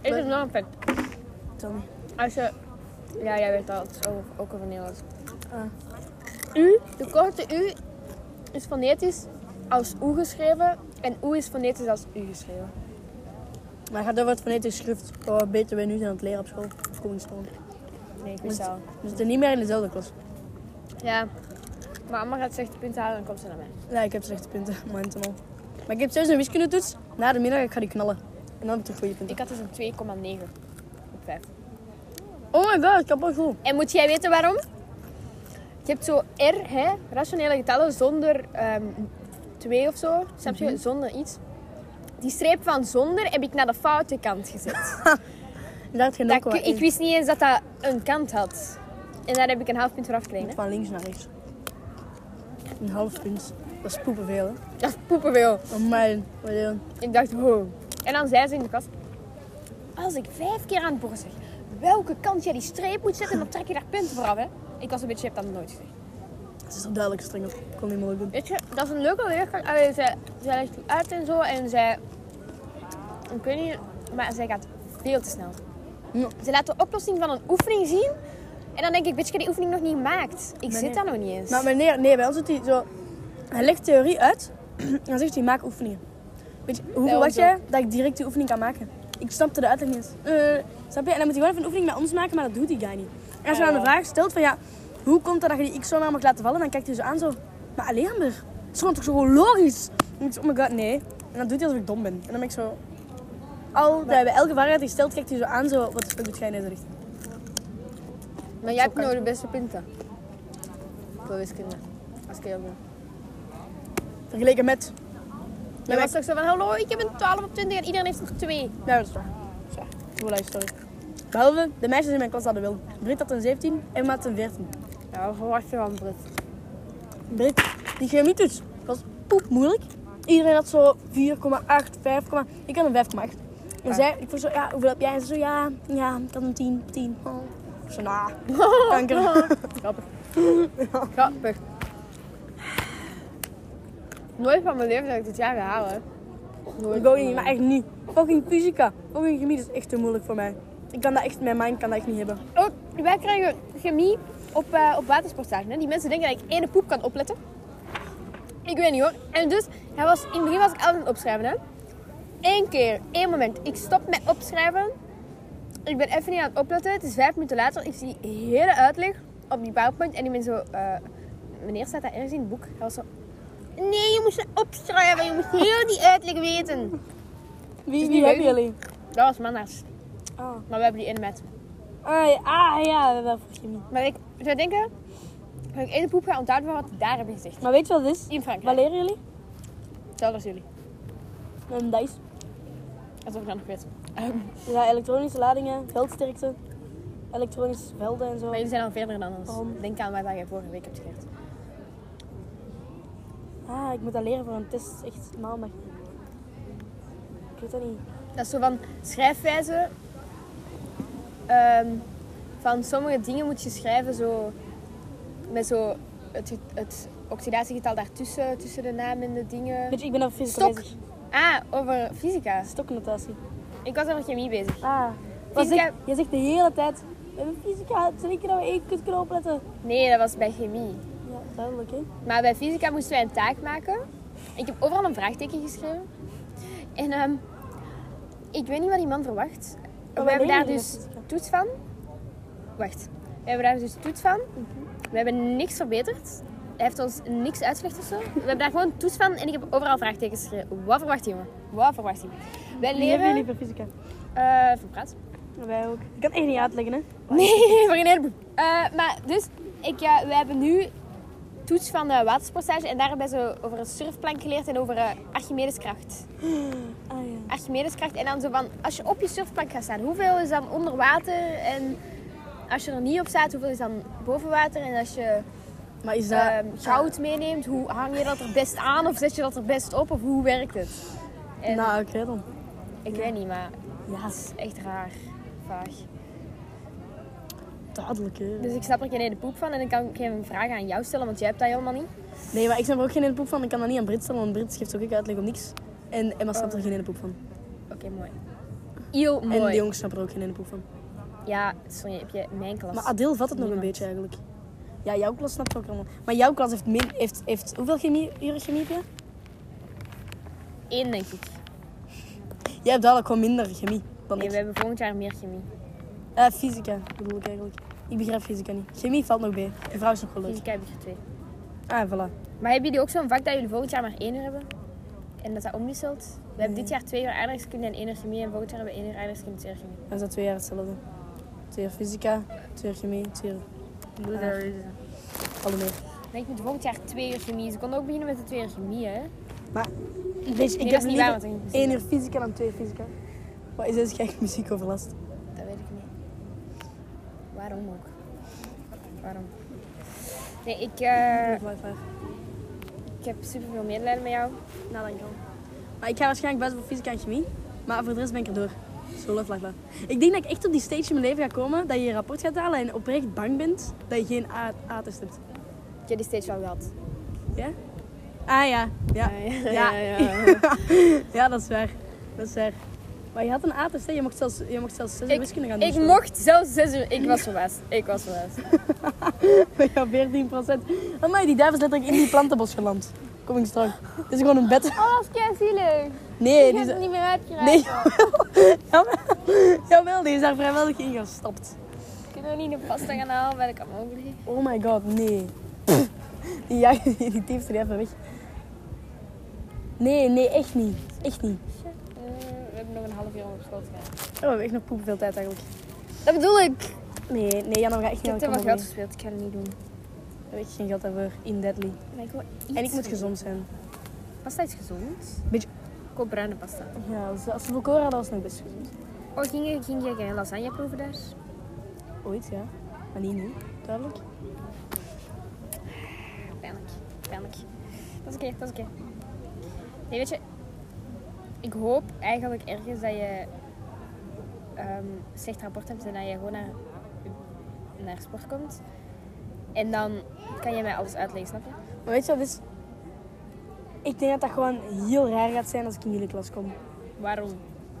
S3: Ik is nog een fact.
S1: Tel niet.
S3: Als je... Ja, jij weet dat. het is ook, ook over Nederlands.
S1: Ah.
S3: U, de korte U, is fonetisch als U geschreven. En U is fonetisch als U geschreven.
S1: Maar het gaat over het fonetisch schrift. Oh, beter we nu zijn aan het leren op school. Of koningsschool.
S3: Nee,
S1: wist
S3: ik wist
S1: het
S3: al.
S1: We zitten niet meer in dezelfde klas.
S3: Ja. Maar Amma gaat slechte punten halen, dan komt ze naar mij.
S1: Ja, ik heb slechte punten. Momenten al. Maar ik heb zelfs een wiskundetoets. Na de middag ik ga die knallen. En dan heb ik de goede punten.
S3: Ik had dus een 2,9 op 5.
S1: Oh my god, ik heb wel goed.
S3: En moet jij weten waarom? Je hebt zo R, hè, rationele getallen zonder 2 of zo, snap je? Zonder iets. Die streep van zonder heb ik naar de foute kant gezet.
S1: Daar had je
S3: dat
S1: ook wel
S3: ik, ik wist niet eens dat dat een kant had. En daar heb ik een half punt voor afgekregen. hè.
S1: Van links naar rechts. Een half punt. Dat is poepenveel, hè?
S3: Dat is poepenveel.
S1: Oh mijn, wat doen?
S3: Ik dacht, wow. En dan zei ze in de klas... Als ik vijf keer aan het bord zeg welke kant jij die streep moet zetten, dan trek je daar punten voor af, hè. Ik was een beetje, je hebt dat nooit gezegd.
S1: Het is toch duidelijk streng op. Ik kon niet moeilijk doen.
S3: Weet je, dat is een leuke leerkracht. Allee, zij, zij legt u uit en zo. En zij... Ik weet niet... Maar zij gaat veel te snel.
S1: Ja.
S3: Ze laat de oplossing van een oefening zien. En dan denk ik, bitch, ik heb die oefening nog niet gemaakt. Ik
S1: nee.
S3: zit daar nog niet eens.
S1: Maar meneer, nee, bij ons doet hij zo... Hij legt theorie uit. En dan zegt hij, maak oefeningen. Weet je, hoe
S3: Bij
S1: verwacht
S3: ons
S1: jij dat ik direct die oefening kan maken? Ik snapte de uitleg niet eens. Eh, snap je? En dan moet hij gewoon even een oefening met ons maken, maar dat doet die guy niet. En als je dan de vraag stelt van, ja, hoe komt het dat je die x zomaar mag laten vallen? Dan kijkt hij zo aan zo, maar alleen maar. Het is gewoon toch zo logisch? En ik zo, oh my god, nee. En dan doet hij alsof ik dom ben. En dan ben ik zo... Al bij elke vraag die hij stelt, kijkt hij zo aan zo, wat de fuck doet jij in deze richting?
S3: Maar jij hebt nou de beste punten. Voor wiskunde. Als ik heel goed.
S1: Vergeleken met...
S3: Jij was toch zo van, hallo, ik heb een 12 op 20 en iedereen heeft er 2.
S1: Ja, dat is waar. Dat is waar. Hoe lijst, sorry. Behalve de meisjes in mijn klas hadden wel. Brit had een 17, Emma had een 14.
S3: Ja, wat verwacht je van Brit?
S1: Brit, die chemietoets was poep moeilijk. Iedereen had zo 4,8, 5, ik had een 5,8. En zij, ik vroeg zo, ja, hoeveel heb jij? En ze zo, ja, ja, ik had een 10, 10. Oh. Ik zo, nah, kanker.
S3: Grappig. Grappig. Nooit van mijn leven dat ik dit jaar ga halen.
S1: Ik ook niet, maar echt niet. Fucking fysica, fucking chemie, dat is echt te moeilijk voor mij. Ik kan dat echt, mijn mind kan dat echt niet hebben.
S3: Ook, Oh, wij krijgen chemie op, eh, op watersportage. Hè? Die mensen denken dat ik ene poep kan opletten. Ik weet niet hoor. En dus, hij was, in het begin was ik altijd aan het opschrijven. Hè? Eén keer, één moment. Ik stop met opschrijven. Ik ben even niet aan het opletten. Het is vijf minuten later. Ik zie die hele uitleg op die powerpoint. En die ben zo... eh, meneer staat daar ergens in het boek. Hij was zo... Nee, je moest dat opschrijven. Je moest heel die uitleg weten.
S1: Wie,
S3: niet
S1: wie Dus hebben
S3: leuk.
S1: jullie?
S3: Dat was maandags.
S1: Ah.
S3: Maar we hebben die in met.
S1: Ah, ja, ah, ja, we hebben voor chemie.
S3: Maar ik zou denken dat ik één poep ga onthouden van wat ik daar heb gezegd.
S1: Maar weet je wat het is?
S3: In
S1: Wat
S3: Frankrijk.
S1: leren jullie?
S3: Hetzelfde als jullie.
S1: Een dice.
S3: Alsof ik dat nog weet.
S1: Ja, elektronische ladingen, veldsterkte, elektronische velden en zo.
S2: Maar jullie zijn al verder dan ons.
S1: Waarom?
S2: Denk aan wat je vorige week hebt geleerd.
S1: Ah, ik moet dat leren voor een test. Echt maandag. Ik weet dat niet.
S3: Dat is zo van schrijfwijze. Ehm, van sommige dingen moet je schrijven zo met zo het, ge- het oxidatiegetal daartussen, tussen de naam en de dingen.
S1: Weet je, ik ben al fysica
S3: Stok.
S1: bezig.
S3: Ah, over fysica.
S1: Stoknotatie.
S3: Ik was over chemie bezig.
S1: Ah. Wat
S3: Fysica-
S1: zeg- je zegt de hele tijd, we hebben fysica, twee keer dat we één kut kunnen opletten.
S3: Nee, dat was bij chemie.
S1: Ja, duidelijk hè.
S3: Maar bij fysica moesten wij een taak maken. Ik heb overal een vraagteken geschreven. En ehm, ik weet niet wat die man verwacht.
S1: wat
S3: we hebben
S1: deed
S3: daar
S1: je
S3: dus
S1: met fysica?
S3: toets van. Wacht. We hebben daar dus toets van. We hebben niks verbeterd. Hij heeft ons niks uitgelegd of zo. We hebben daar gewoon toets van en ik heb overal vraagtekens geschreven. Wat verwacht die jongen? Wat verwacht hij? Wij
S1: Wie hebben jullie
S3: leren...
S1: voor fysica?
S3: eh verpraat.
S1: Wij ook. Ik kan het echt niet uitleggen hè.
S3: Nee, voor geen heleboel. Eh, maar dus, ik, eh, we hebben nu toets van de watersportage en daar hebben we zo over een surfplank geleerd en over eh, Archimedeskracht.
S1: Ah ja.
S3: Archimedeskracht en dan zo van, als je op je surfplank gaat staan, hoeveel is dan onder water? En als je er niet op staat, hoeveel is dan boven water? En als je
S1: Maar is
S3: ehm, goud meeneemt, hoe hang je dat er best aan of zet je dat er best op? Of hoe werkt het? En,
S1: Nou, oké dan.
S3: ik weet niet, maar
S1: Ja,
S3: het is echt raar. Vaag.
S1: duidelijk hè.
S3: Dus ik snap er geen ene poep van en dan kan ik geen vragen aan jou stellen, want jij hebt dat helemaal niet.
S1: Nee, maar ik snap er ook geen ene poep van. Ik kan dat niet aan Brit stellen, want Brit geeft ook ik uitleg op niks. En Emma snapt er geen ene poep van.
S3: Oké, mooi. Heel
S1: En de
S3: mooi.
S1: jongens snappen er ook geen ene poep van.
S3: Ja, sorry, heb je mijn klas.
S1: Maar Adil vat het nog een
S3: Niemand.
S1: beetje eigenlijk. Ja, jouw klas snapt het ook allemaal. Maar jouw klas heeft, min, heeft, heeft hoeveel chemie, uren chemie heb je?
S3: Eén, denk ik.
S1: Jij hebt dadelijk gewoon minder chemie dan
S3: Nee,
S1: ik.
S3: we hebben volgend jaar meer chemie.
S1: Eh, fysica bedoel ik eigenlijk. Ik begrijp fysica niet. Chemie valt nog bij. De vrouw is nog wel leuk.
S3: Fysica heb ik er twee. Hm.
S1: Ah, voilà.
S3: Maar hebben jullie ook zo'n vak dat jullie volgend jaar maar één uur hebben? En dat dat omwisselt? We hebben dit jaar twee uur aardrijkskunde en één uur chemie. En volgend jaar hebben we één uur aardrijkskunde en twee uur chemie.
S1: Dan is dat twee jaar hetzelfde. Twee jaar fysica, twee jaar chemie, twee jaar... Alle meer.
S3: Nee, Ah. ik moet volgend jaar twee uur chemie. Ze konden ook beginnen met de twee uur chemie, hè?
S1: Maar, weet je, ik
S3: dat
S1: heb
S3: is niet waar,
S1: liever
S3: want ik-
S1: één uur fysica dan twee uur fysica. Wat is deze gek muziek overlast?
S3: Dat weet ik niet. Waarom ook? Waarom? Nee, ik, eh,
S1: Wi-Fi.
S3: ik heb super veel medelijden met jou.
S1: Nou, dankjewel. Maar ik ga waarschijnlijk best voor fysica en chemie. Maar voor de rest ben ik er door. Zo love life, love. Ik denk dat ik echt op die stage in mijn leven ga komen dat je een rapport gaat halen en oprecht bang bent dat je geen A- A-test hebt.
S3: Ik heb die steeds wel gehad.
S1: Ja? Ah ja. Ja.
S3: ja,
S1: Ja,
S3: ja,
S1: Ja, dat is waar. Dat is waar. Maar je had een A-test, hè? Je mocht zelfs, je mocht zelfs zes uur wiskunde gaan doen.
S3: Ik mocht zelfs zes uur. Ik was verbaasd. Ik was verbaasd.
S1: Met jouw 14 procent. Amai, die duif is letterlijk in die plantenbos geland. Kom eens terug. Het is gewoon een bed.
S3: Oh, dat is zielig.
S1: Nee,
S3: Ik
S1: die is...
S3: heb het niet meer uitgeruimd.
S1: Nee, jawel. jawel. Jawel, die is daar vrijwillig ingestapt.
S3: Kunnen we niet een pasta gaan halen bij de kamogli?
S1: Oh my god, nee. Pff, Die jagen die die diefste die even weg. Nee, nee, echt niet. Echt niet.
S3: Eh, We hebben nog een half uur om op school te gaan.
S1: Oh, we hebben echt nog poep veel tijd eigenlijk.
S3: Dat bedoel ik.
S1: Nee, nee, Jan, we gaan echt
S3: Ik heb
S1: niet
S3: te
S1: aan
S3: veel
S1: de
S3: geld gespeeld. Ik ga het niet doen.
S1: Daar heb ik geen geld daarvoor. In Deadly.
S3: Maar ik wil iets
S1: En ik moet
S3: doen.
S1: gezond zijn.
S3: Pasta is gezond.
S1: Beetje-
S3: Ik koop bruine pasta.
S1: Ja, als als ze volkoren hadden, was het nog best gezond.
S3: Oh, ging je, ging je geen lasagne proeven daar?
S1: Ooit, ja. Maar niet nu, duidelijk.
S3: Pijnlijk. Pijnlijk. Dat is oké, dat is oké. Nee, weet je... Ik hoop eigenlijk ergens dat je... ehm slecht rapport hebt en dat je gewoon naar, naar sport komt. En dan kan je mij alles uitleggen, snap je?
S1: Maar weet je wat het is? Ik denk dat dat gewoon heel raar gaat zijn als ik in jullie klas kom.
S3: Waarom?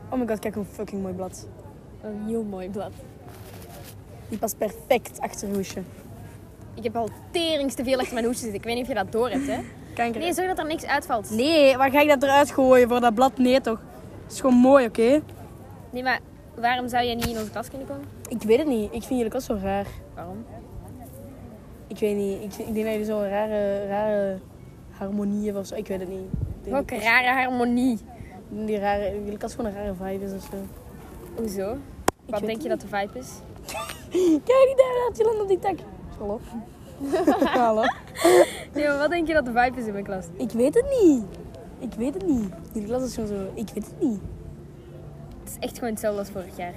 S1: Oh my god, kijk hoe fucking mooi blad.
S3: Een heel mooi blad.
S1: Die past perfect achter je hoesje.
S3: Ik heb al terings te veel achter mijn hoesje zitten. Ik weet niet of je dat door hebt, hè?
S1: Kanker.
S3: Nee, zorg dat er niks uitvalt.
S1: Nee, waar ga ik dat eruit gooien voor dat blad? Nee toch? Het is gewoon mooi, oké?
S3: Nee, maar waarom zou je niet in onze klas kunnen komen?
S1: Ik weet het niet. Ik vind jullie klas zo raar.
S3: Waarom?
S1: Ik weet niet. Ik, vind- ik denk dat jullie zo'n rare, rare harmonie hebben of zo. Ik weet het niet. Ik denk
S3: Welke
S1: dat-
S3: rare harmonie.
S1: Die rare, jullie klas gewoon een rare vibe is of zo.
S3: Hoezo? Wat
S1: weet
S3: denk je
S1: het
S3: dat de vibe is?
S1: Kijk, die daar had je land op die tak. Hallo. Hallo.
S3: Nee, maar wat denk je dat de vibe is in mijn klas?
S1: Ik weet het niet. Ik weet het niet. Jullie klas is gewoon zo. Ik weet het niet.
S3: Het is echt gewoon hetzelfde als vorig jaar.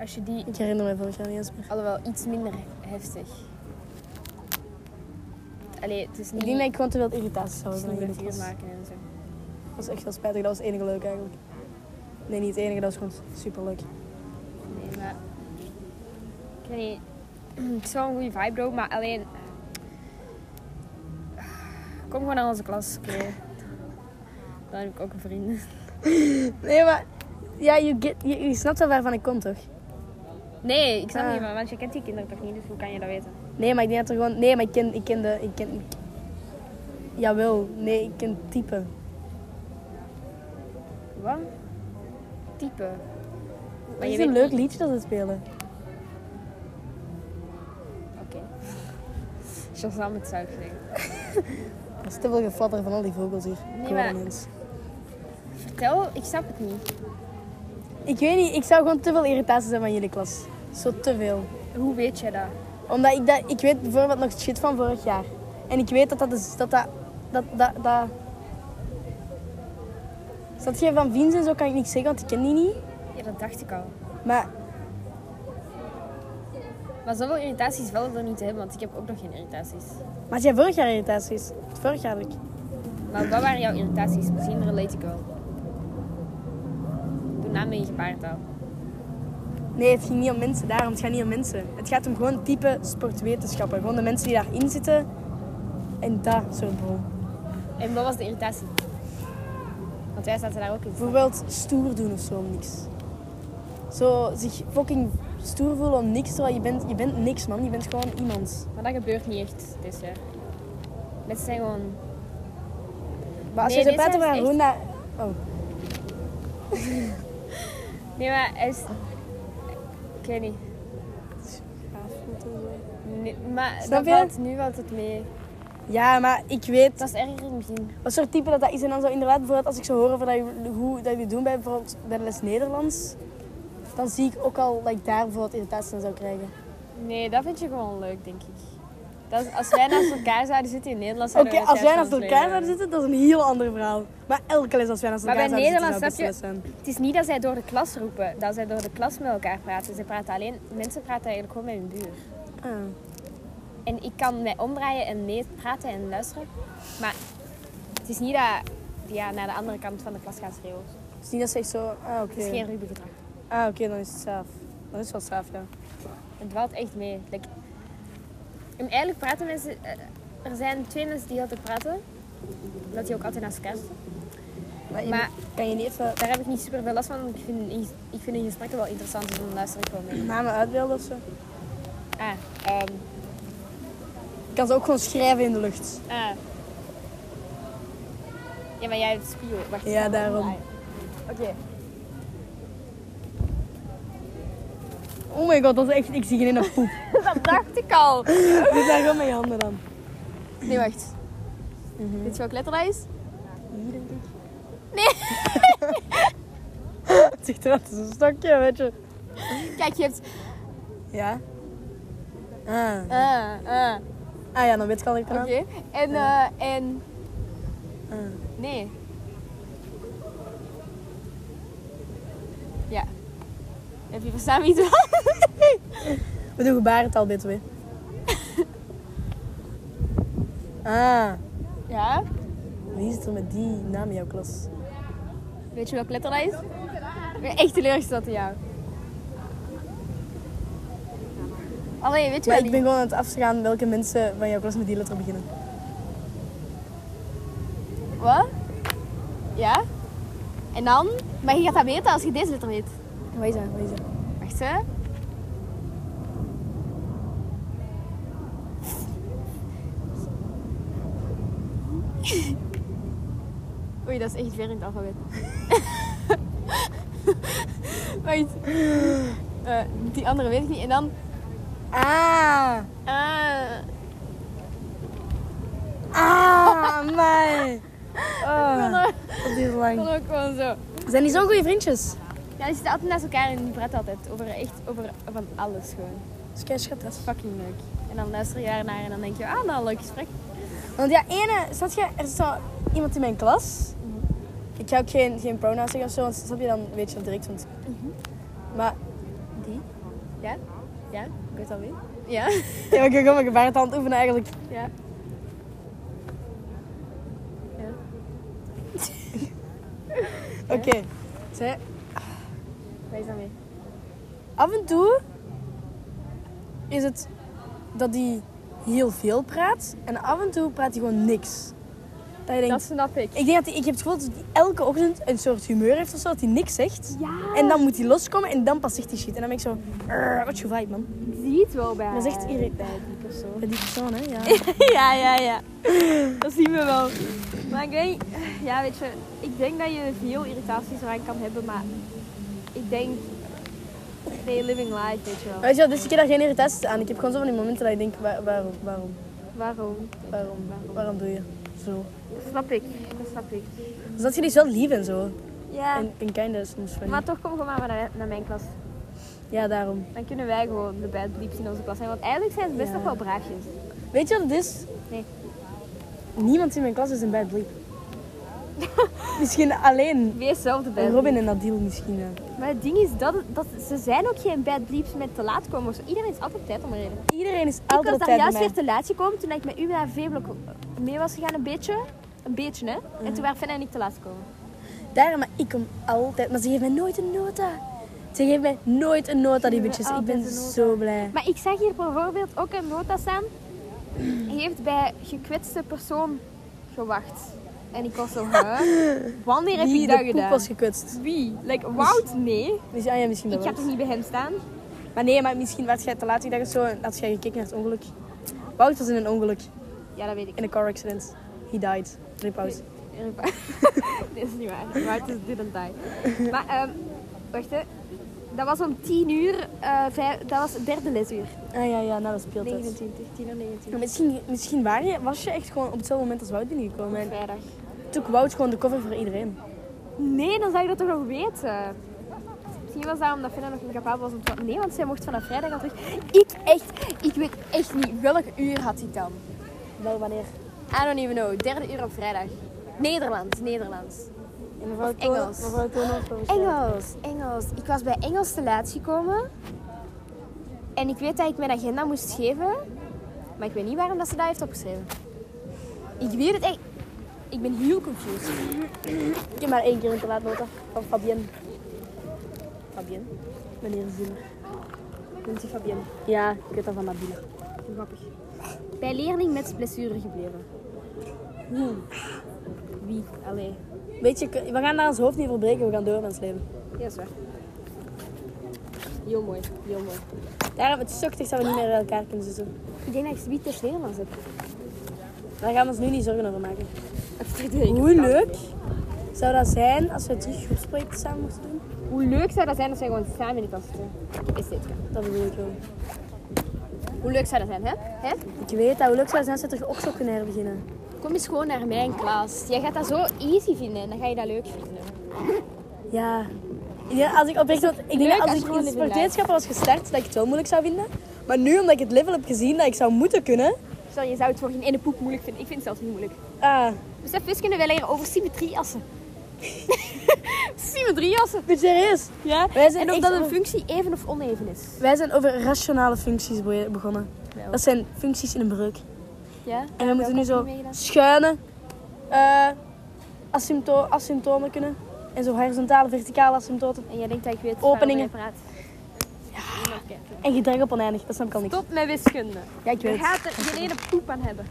S3: Als je die...
S1: Ik herinner me vorig jaar niet eens meer.
S3: Alhoewel, iets minder heftig. Allee, het is niet...
S1: Ik denk dat ik gewoon te veel irritaties had.
S3: het is niet
S1: Dat
S3: met vuur maken en zo.
S1: was echt wel spijtig. Dat was het enige leuk eigenlijk. Nee, niet het enige. Dat was gewoon super leuk.
S3: Nee, maar... Ik weet niet. Het is wel een goede vibe, bro, maar alleen... eh, Kom gewoon naar onze klas, oké. Dan heb ik ook een vriend.
S1: Nee, maar... Ja, je, get, je, je snapt wel waarvan ik kom, toch?
S3: Nee, ik snap
S1: Ah.
S3: niet van, want je kent die kinderen toch niet, dus hoe kan je dat weten?
S1: Nee, maar ik denk dat er gewoon... Nee, maar ik ken... Ik ken de... Ik ken... ik- Jawel. Nee, ik ken type.
S3: Wat? Type.
S1: Het
S3: Maar je
S1: is
S3: weet
S1: een leuk liedje dat ze spelen.
S3: Oké. Shazam het zou ik zeggen.
S1: Dat is te veel gefladder van al die vogels hier. Nee,
S3: maar- Vertel, ik snap het niet.
S1: Ik weet niet. Ik zou gewoon te veel irritaties hebben van jullie klas. Zo te veel.
S3: Hoe weet jij dat?
S1: Omdat ik, dat, ik weet bijvoorbeeld nog shit van vorig jaar. En ik weet dat dat... Is, dat, dat, dat, dat, dat... Zat je van Vins en zo kan ik niks zeggen, want ik ken die niet.
S3: Ja, dat dacht ik al.
S1: Maar
S3: Maar zoveel irritaties wel er niet te hebben, want ik heb ook nog geen irritaties.
S1: Maar had jij vorig jaar irritaties? Vorig jaar had ik.
S3: Maar wat waren jouw irritaties? Misschien relate ik wel. Doe naam in je paardtaal.
S1: Nee, het ging niet om mensen daarom. Het gaat niet om mensen. Het gaat om gewoon type sportwetenschappen. Gewoon de mensen die daarin zitten. En dat soort bro.
S3: En wat was de irritatie? Want wij zaten daar ook in.
S1: Bijvoorbeeld stoer doen of zo om niks. Zo zich fucking stoer voelen om niks. Terwijl je bent, je bent niks man. Je bent gewoon iemand.
S3: Maar dat gebeurt niet echt dit jaar. Mensen zijn gewoon...
S1: Maar als
S3: Nee,
S1: je zo
S3: dit
S1: praten
S3: jaar
S1: van
S3: is
S1: Rona... Oh,
S3: Nee, maar hij is... Ik weet niet.
S1: gaaf voelt en zo.
S3: Nee, maar
S1: Snap
S3: dat
S1: je?
S3: valt nu valt het mee.
S1: Ja, maar ik weet
S3: Het was erger in het begin.
S1: wat soort type dat, dat is. En dan zou inderdaad bijvoorbeeld als ik zou horen van dat je- hoe dat je doen bij bijvoorbeeld bij de les Nederlands. Dan zie ik ook al dat ik daar bijvoorbeeld irritaties aan zou krijgen.
S3: Nee, dat vind je gewoon leuk, denk ik. Dat is, als wij naast elkaar zouden zitten in Nederland,
S1: Oké,
S3: zouden we
S1: als wij naast
S3: elkaar soms
S1: elkaar
S3: leuk
S1: zouden
S3: hebben.
S1: zitten, dat is een heel ander verhaal. Maar elke les als wij naast
S3: Maar
S1: elkaar
S3: bij
S1: zouden zitten, zou
S3: Nederlands
S1: best les
S3: snap
S1: zijn.
S3: Het is niet dat zij door de klas roepen, dat zij door de klas met elkaar praten. Ze praten alleen, mensen praten eigenlijk gewoon met hun buur.
S1: Ah.
S3: En ik kan mij omdraaien en mee praten en luisteren. Maar het is niet dat die ja, naar de andere kant van de klas gaan schreeuwen.
S1: Het is niet dat ze echt zo... Ah, oké.
S3: Het is geen ruwe gedrag.
S1: Ah, oké, dan is het saaf. Dan is het wel saaf, ja.
S3: Het valt echt mee. Like, en eigenlijk praten mensen. eh, Er zijn twee mensen die heel te praten, omdat die ook altijd naast elkaar zitten.
S1: Maar, je
S3: Maar-
S1: moet- kan je niet even
S3: Daar heb ik niet super veel last van, want ik vind, in- ik vind hun gesprekken wel interessant, dus dan luister ik wel mee.
S1: namen uitbeelden of zo?
S3: Ah, ehm,
S1: Ik kan ze ook gewoon schrijven in de lucht.
S3: ah. Ja, maar jij hebt spiegel. Wacht,
S1: Ja,
S3: ik ga
S1: daarom.
S3: omdraaien. Oké.
S1: Oh my god, dat is echt... Ik zie geen ene poep.
S3: dat dacht ik al.
S1: Doe daar gewoon met je handen dan.
S3: Nee, wacht.
S1: Mhm.
S3: Dit is ook letterlijst.
S1: Hier, denk ik. Nee! Het ziet eruit als een stokje, weet je.
S3: Kijk, je hebt.
S1: Ja? Ah.
S3: Ah, ah.
S1: ah ja, dan weet ik al dat ik
S3: Oké.
S1: eraan-
S3: En, eh, en.
S1: Ah.
S3: Nee. Ja. Heb je verstaan wie het was?
S1: We doen gebarentaal btw. ah,
S3: Ja.
S1: wie zit er met die naam in jouw klas?
S3: Weet je welk letterlijst? Ik ben echt teleurgesteld in jou. Allee, weet je
S1: Maar
S3: wel
S1: ik ben gewoon aan het afgaan welke mensen van jouw klas met die letter beginnen.
S3: die- Wat? Ja? En dan? Maar je gaat dat weten als je deze letter weet.
S1: Waar is dat? Waar is dat?
S3: Wacht, hè. Oei, dat is echt weer in het alfabet. Wacht. Eh, die andere weet ik niet. En dan...
S1: Ah!
S3: eh,
S1: Ah, mij! Oh, dat duurt
S3: dan
S1: lang.
S3: ook gewoon zo.
S1: Zijn die zo'n goede vriendjes?
S3: Ja, die zitten altijd naast elkaar en die praten altijd over, echt, over van alles gewoon.
S1: Dat is kei schattig.
S3: Dat is fucking leuk. En dan luister je daarnaar en dan denk je, ah, nou, leuk gesprek.
S1: Want ja, ene, zat je, er zat iemand in mijn klas. Ik ga ook geen, geen pronoun zeggen of zo, want snap je dan weet je dat direct. Want... Maar
S3: Ja, ik weet al wie.
S1: ja, maar ik ben gewoon mijn gebarentaal aan het oefenen eigenlijk.
S3: Ja.
S1: Oké. Zij-
S3: Wees daarmee.
S1: Af en toe is het dat hij heel veel praat en af en toe praat hij gewoon niks. Dat je
S3: Dat
S1: denkt,
S3: snap ik.
S1: ik denk dat hij, ik heb het gevoel dat hij elke ochtend een soort humeur heeft of zo, dat hij niks zegt.
S3: Ja.
S1: En dan moet hij loskomen en dan pas zegt hij shit. En dan ben ik zo, "Arr, wat je vibe man.
S3: Ik zie het wel bij.
S1: Dat is echt irri-
S3: bij die persoon.
S1: Bij die persoon hè, ja.
S3: ja, ja, ja. Dat zien we wel. Maar ik weet, ja, weet je, ik denk dat je veel irritaties eraan kan hebben, maar ik denk, nee, living life, weet je wel.
S1: Weet je wel, dus ik heb daar geen irritaties aan. Ik heb gewoon zo van die momenten dat ik denk, "Waar- waarom, waarom,
S3: Waarom?
S1: waarom, waarom doe je zo?
S3: Dat snap ik, dat snap ik.
S1: Dus dat vind ik wel lief en zo.
S3: Ja,
S1: En, en kinda soms van.
S3: maar toch kom gewoon maar naar, naar mijn klas.
S1: Ja, daarom.
S3: Dan kunnen wij gewoon de bad bleeps in onze klas zijn, want eigenlijk zijn ze best
S1: Ja.
S3: nog wel braafjes.
S1: Weet je wat het is?
S3: Nee.
S1: Niemand in mijn klas is een bad bleep. misschien alleen
S3: Wees zelf de bad bleep.
S1: Robin en Nadine misschien. ja.
S3: Maar het ding is, dat, dat, ze zijn ook geen bad bleeps met te laat komen of zo. Iedereen is altijd op tijd om een reden.
S1: Iedereen is
S3: Ik
S1: altijd
S3: was
S1: op tijd
S3: daar
S1: bij
S3: juist
S1: mij.
S3: weer te laat gekomen toen ik met u naar Veeblok mee was gegaan, een beetje. Een beetje, hè. En toen waren Fenna en ik te laat gekomen.
S1: Daarom, maar ik kom altijd. Maar ze geeft mij nooit een nota. Ze geeft mij nooit een nota, die
S3: geven
S1: bitches.
S3: mij
S1: Ik ben
S3: altijd een nota.
S1: zo blij.
S3: Maar ik zag hier bijvoorbeeld ook een nota staan. Heeft bij gekwetste persoon gewacht. En ik was zo, huh? Wanneer heb
S1: Wie
S3: ik
S1: de
S3: dat
S1: poep
S3: gedaan?
S1: was gekwetst.
S3: Wie? Like, Wout? Nee.
S1: Dus, ah ja, misschien
S3: Ik
S1: dat
S3: ga
S1: wel.
S3: toch niet bij hem staan?
S1: Maar nee, maar misschien was jij te laat die dag of zo en had jij gekeken naar het ongeluk. Wout was in een ongeluk.
S3: Ja, dat weet ik.
S1: In een car accident. He died. Rip out.
S3: Dit is niet waar. Wout is didn't die. Maar, ehm, wacht hè. Dat was om 10 uur, eh, vijf- dat was het derde lesuur.
S1: Ah ja, ja, nou dat speelt het.
S3: 29, 10 of 19.
S1: Maar Misschien, misschien waren je, was je echt gewoon op hetzelfde moment als Wout binnengekomen. En
S3: Vrijdag.
S1: toen Wout gewoon de cover voor iedereen.
S3: Nee, dan zou je dat toch nog weten? Misschien was dat omdat Fenna nog incapabel was om te... Nee, want zij mocht vanaf vrijdag al terug. Ik echt, ik weet echt niet welk uur had ik dan.
S1: Wel wanneer?
S3: I don't even know. Derde uur op vrijdag. Nederlands, Nederlands.
S1: In mevrouw
S3: Toon- Engels. mevrouw Engels, Engels. Ik was bij Engels te laat gekomen. En ik weet dat ik mijn agenda moest geven. Maar ik weet niet waarom dat ze dat heeft opgeschreven. Ik weet het echt. Ik ben heel confused.
S1: Ik heb maar één keer een te laat nota van Fabienne. Fabienne? Meneer Zimmer.
S3: Noemt u Fabienne.
S1: Ja, ik weet dat van Nabila.
S3: Grappig. Bij leerling met blessure gebleven. Wie? Allee.
S1: Weet je, we gaan daar ons hoofd niet verbreken, we gaan door met ons leven.
S3: Ja, is waar. Heel mooi, heel mooi.
S1: Daarom, het is zochtig dat we niet meer bij elkaar kunnen zitten.
S3: Ik denk dat ik zoiets tegen Nederlands heb.
S1: Daar gaan we ons nu niet zorgen over maken.
S3: Hoe
S1: Hoe
S3: leuk,
S1: leuk zou dat zijn als we terug groepsprojecten samen mochten doen?
S3: hoe leuk zou dat zijn als wij gewoon samen in de klas zitten? Is dit
S1: Dat bedoel ik wel.
S3: Hoe leuk zou dat zijn, hè? hè?
S1: Ik weet dat, hoe leuk zou het zijn als we terug ook kunnen herbeginnen?
S3: Kom eens gewoon naar mijn klas. Dus Jij gaat dat zo easy vinden en dan ga je dat leuk vinden.
S1: Ja. Ik denk, als ik oprecht, want ik denk
S3: Leuk
S1: dat
S3: als
S1: als
S3: je
S1: ik
S3: gewoon
S1: in
S3: living life.
S1: sportwetenschappen was gestart, dat ik het wel moeilijk zou vinden. Maar nu, omdat ik het level heb gezien dat ik zou moeten kunnen.
S3: Stel, je zou het voor geen ene poep moeilijk vinden. Ik vind het zelfs niet moeilijk.
S1: Ah,
S3: Besef, wiskunde wij leren over symmetrieassen. symmetrieassen.
S1: ben je serieus?
S3: Ja,
S1: Wij zijn
S3: en of dat
S1: echt
S3: een
S1: over-
S3: functie even of oneven is.
S1: Wij zijn over rationale functies be- begonnen.
S3: Wel.
S1: Dat zijn functies in een breuk.
S3: Ja?
S1: En we moeten nu zo
S3: heb je meegedaan?
S1: schuine, eh asympto asymptomen kunnen. En zo horizontale, verticale asymptoten.
S3: En jij denkt dat ik weet
S1: Openingen.
S3: waarover je praat. Ja.
S1: En gedrag op oneindig, dat snap ik al niet.
S3: Stop met wiskunde.
S1: Ja, ik
S3: Je
S1: weet het.
S3: gaat er geen ene poep aan hebben.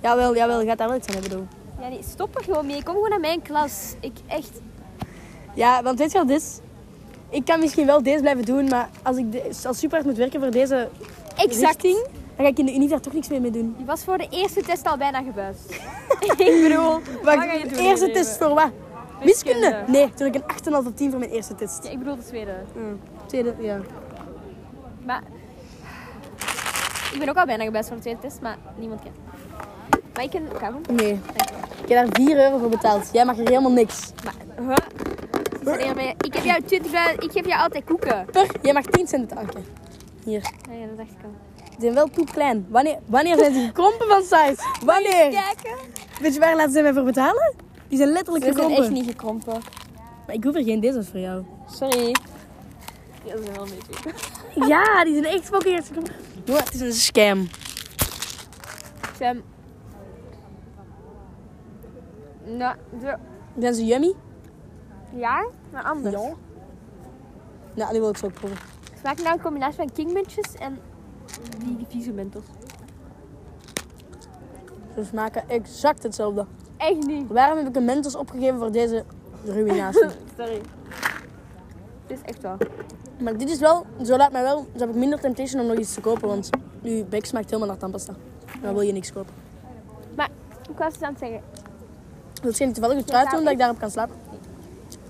S1: Jawel, jawel, je gaat daar wel iets aan hebben doen.
S3: Ja, nee, stop er gewoon mee. Kom gewoon naar mijn klas. Ik echt...
S1: Ja, want weet je wat het is? Ik kan misschien wel deze blijven doen, maar als ik de, als super hard moet werken voor deze
S3: Exact.
S1: richting, dan ga ik in de unie daar toch niks mee mee doen.
S3: Die was voor de eerste test al bijna gebuist. ik bedoel, wat ga je doen?
S1: eerste
S3: in je
S1: test
S3: leven?
S1: voor wat? Wiskunde?
S3: Wiskunde.
S1: Nee, toen ik een 8,5 op 10 voor mijn eerste test.
S3: Ja, ik bedoel de tweede.
S1: Mm. Tweede, ja.
S3: Maar... Ik ben ook al bijna gebuist voor de tweede test, maar niemand kent. Maar ik ken Karen.
S1: Nee. Ik heb daar 4 euro voor betaald. Jij mag er helemaal niks.
S3: Maar... Huh? Ze zijn hier bij- Ik heb jou 20 Ik geef jou altijd koeken.
S1: Per, jij mag 10 cent tanken. Hier.
S3: Ja, ja, dat dacht ik al.
S1: Ze zijn wel poep klein. Wanneer, wanneer zijn ze gekrompen van size? Wanneer?
S3: Kijken.
S1: Weet je waar laten ze mij voor betalen? Die zijn letterlijk
S2: Ze zijn echt
S1: gekomen.
S2: niet gekrompen.
S1: Maar ik hoef er geen dessert voor jou.
S2: Sorry. Ja, ze zijn wel een beetje.
S1: Ja, die zijn echt fucking hard gekomen. Jongen, het is een scam.
S3: Sam. Nou, de-
S1: Zijn ze yummy?
S3: ja, maar anders.
S1: Ja. Nou, die wil ik zo ook proeven.
S3: Het smaakt nou een combinatie van kingmuntjes en die, die vieze mentos.
S1: Ze smaken exact hetzelfde.
S3: Echt niet.
S1: Waarom heb ik een Mentos opgegeven voor deze ruïnatie?
S3: Sorry. Dit is echt wel.
S1: maar dit is wel, zo laat mij wel, zo heb ik minder temptation om nog iets te kopen. Want nu bek smaakt helemaal naar tandpasta. En dan wil je niks kopen.
S3: Maar ik was het aan het zeggen.
S1: Wil je niet toevallig een trui doen dat ik daarop kan slapen?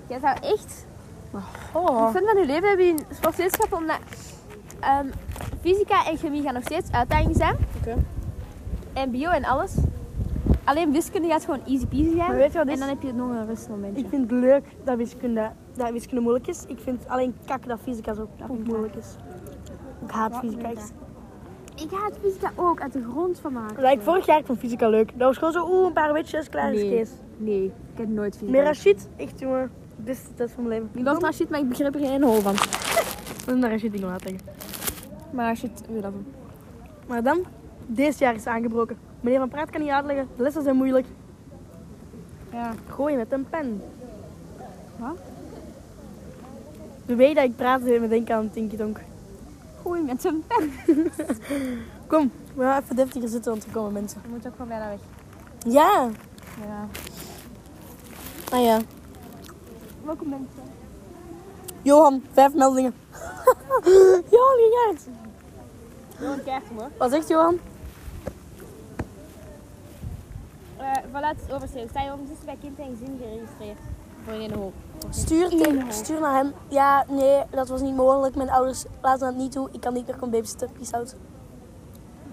S3: Jij zou echt... Ik
S1: Oh.
S3: vind van uw leven heb je een sportwetenschappen omdat... ehm, fysica en chemie gaan nog steeds uitdagingen zijn.
S1: Oké.
S3: En bio en alles. Alleen wiskunde gaat gewoon easy peasy zijn.
S1: Maar weet je wat
S3: en
S1: is?
S3: dan heb je nog een rustmomentje.
S1: Ik vind het leuk dat wiskunde, dat wiskunde moeilijk is. Ik vind alleen kak dat fysica zo moeilijk is. Ik haat fysica. echt.
S3: Ik haat fysica ook uit de grond van mijn hart.
S1: Like, vorig jaar ik vond fysica leuk. Dat was gewoon zo, oeh, een paar witjes, klaar is
S3: Nee.
S1: Kees.
S3: Nee, ik heb nooit fysica.
S1: Meer Rashid, echt jongen, beste test van mijn leven.
S3: Ik dacht naar shit, maar ik begrijp er geen hol van.
S1: Ik naar Rashid in laten zeggen.
S3: Maar shit, we love hem.
S1: Maar dan, dit jaar is aangebroken. Meneer Van Praat kan niet uitleggen, de lessen zijn moeilijk.
S3: Ja.
S1: Gooi met een pen.
S3: Wat?
S1: De way dat ik praat, deed me denken aan Tinky Tonk.
S3: Goeie met zijn pen.
S1: Kom, we gaan even deftiger zitten, want er komen mensen.
S3: Je moet ook wel bijna weg.
S1: Ja,
S3: Ja.
S1: ah ja.
S3: Welkom mensen.
S1: Johan, vijf meldingen. Johan, gejaagd.
S3: Wel een kaart hoor.
S1: Wat zegt Johan?
S2: Eh,
S3: Uh, voilà, het is overstreven. Sta je ondertussen bij kind en gezin geregistreerd? Voor in de hoop.
S1: Stuur, tegen- stuur naar hem. Ja, nee, dat was niet mogelijk. Mijn ouders laten dat niet toe. Ik kan niet meer komen babysitten. Peace out.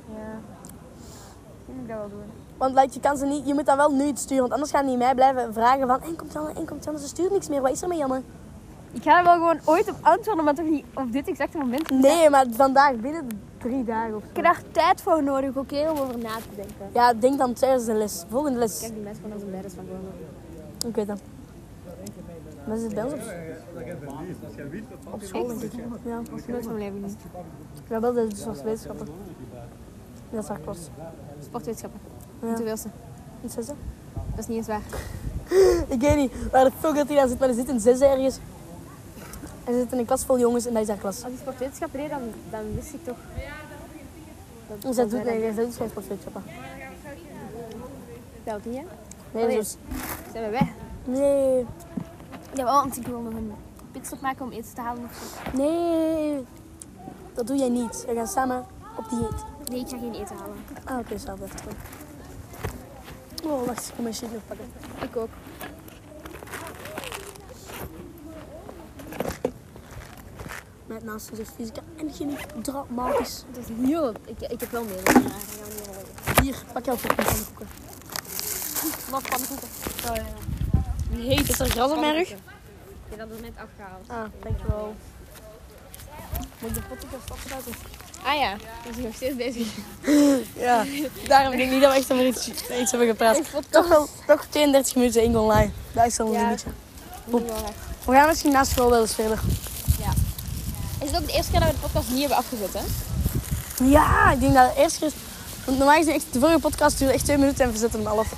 S3: Ja. Ik moet dat wel doen.
S1: Want like, je kan ze niet, je moet dan wel nu iets sturen. Want anders gaan die mij blijven vragen van... En komt Janne, en komt Janne. Ze stuurt niks meer. Wat is er met Janne?
S3: Ik ga er wel gewoon ooit op antwoorden, maar toch niet op dit exacte moment.
S1: Nee, maar vandaag binnen drie dagen of
S3: Ik
S1: zo.
S3: heb daar tijd voor nodig, oké, om over na te denken.
S1: Ja, denk dan tijdens de les. Volgende les.
S2: Die mensen van onze leiders van Gorno.
S1: Oké dan. Maar ze zit bij ons op, op school, denk ik. Ja,
S2: Nooit van mijn leven niet.
S1: ja wel, dat is dus als wetenschappen. Dat is haar klas.
S2: Sportwetenschappen.
S1: Ja.
S2: Ja. Hoeveelste?
S1: Niet zesde?
S2: Dat is niet eens waar.
S1: Ik weet niet waar de fuck dat hij aan zit, maar er zit een zesde ergens. En ze zit in een klas vol jongens en dat is haar klas.
S2: Als ik sportwetenschap deed, dan, dan wist ik toch. Dat,
S1: Zij doet, nee, zij doet geen sportwetenschappen.
S2: dat niet, hè?
S1: Nee, dat is...
S2: Zijn we weg?
S1: Nee.
S3: Ja, want ik wil nog een pitstop maken om eten te halen of zo.
S1: Nee, dat doe jij niet. We gaan samen op dieet.
S3: Nee, ik ga geen eten halen.
S1: Ah, oké, samen even terug. Oh, wacht, ik moet mijn shit nog pakken.
S3: Ik ook.
S1: Met naast ons is fysica en chemie dramatisch.
S3: Dat is heel... Ik, ik heb wel meer. maar ik ga niet meer over.
S1: Hier, pak jouw fucking pannenkoeken.
S3: Wat pannenkoeken? Oh, ja.
S1: Wie heet, is er gras op mijn rug?
S3: Ik heb dat net afgehaald.
S1: Ah, dankjewel. Moet ik de potjes afsluiten?
S2: Ah ja, we zijn nog steeds bezig.
S1: Ja, daarom denk ik niet dat we echt over iets, iets hebben gepraat. Toch wel toch 32 minuten één online. Dat is al een beetje. We gaan misschien na school wel eens verder.
S2: Is het ook de eerste keer dat we de podcast niet hebben afgezet, hè?
S1: Ja, ik denk dat het eerst is. Want normaal gezien, echt, de vorige podcast duurde echt twee minuten en we zetten hem al af.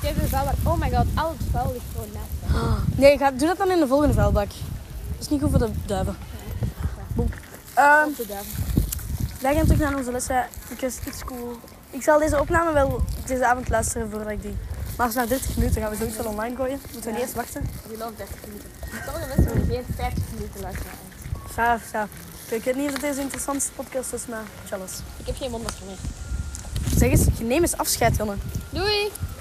S2: Ik heb het wel wat- Oh my god, al het vuil ligt gewoon naast. me.
S1: Nee, ga, doe dat dan in de volgende vuilbak. Dat is niet goed voor de duiven. Boem. Ehm,
S2: Goed gedaan.
S1: wij gaan terug naar onze lessen. Ik is iets cool. Ik zal deze opname wel deze avond luisteren voordat ik die. Maar als na 30 minuten gaan we zoiets wel online gooien. Moeten we niet eerst wachten?
S2: Je loopt 30 minuten. Sommige mensen willen geen 50 minuten luisteren.
S1: Saaf, saaf. Oké, Ik weet niet of het deze interessantste podcast is, maar jealous.
S2: Ik heb geen mondmasker meer.
S1: Zeg eens, neem eens afscheid, Jonne.
S2: Doei!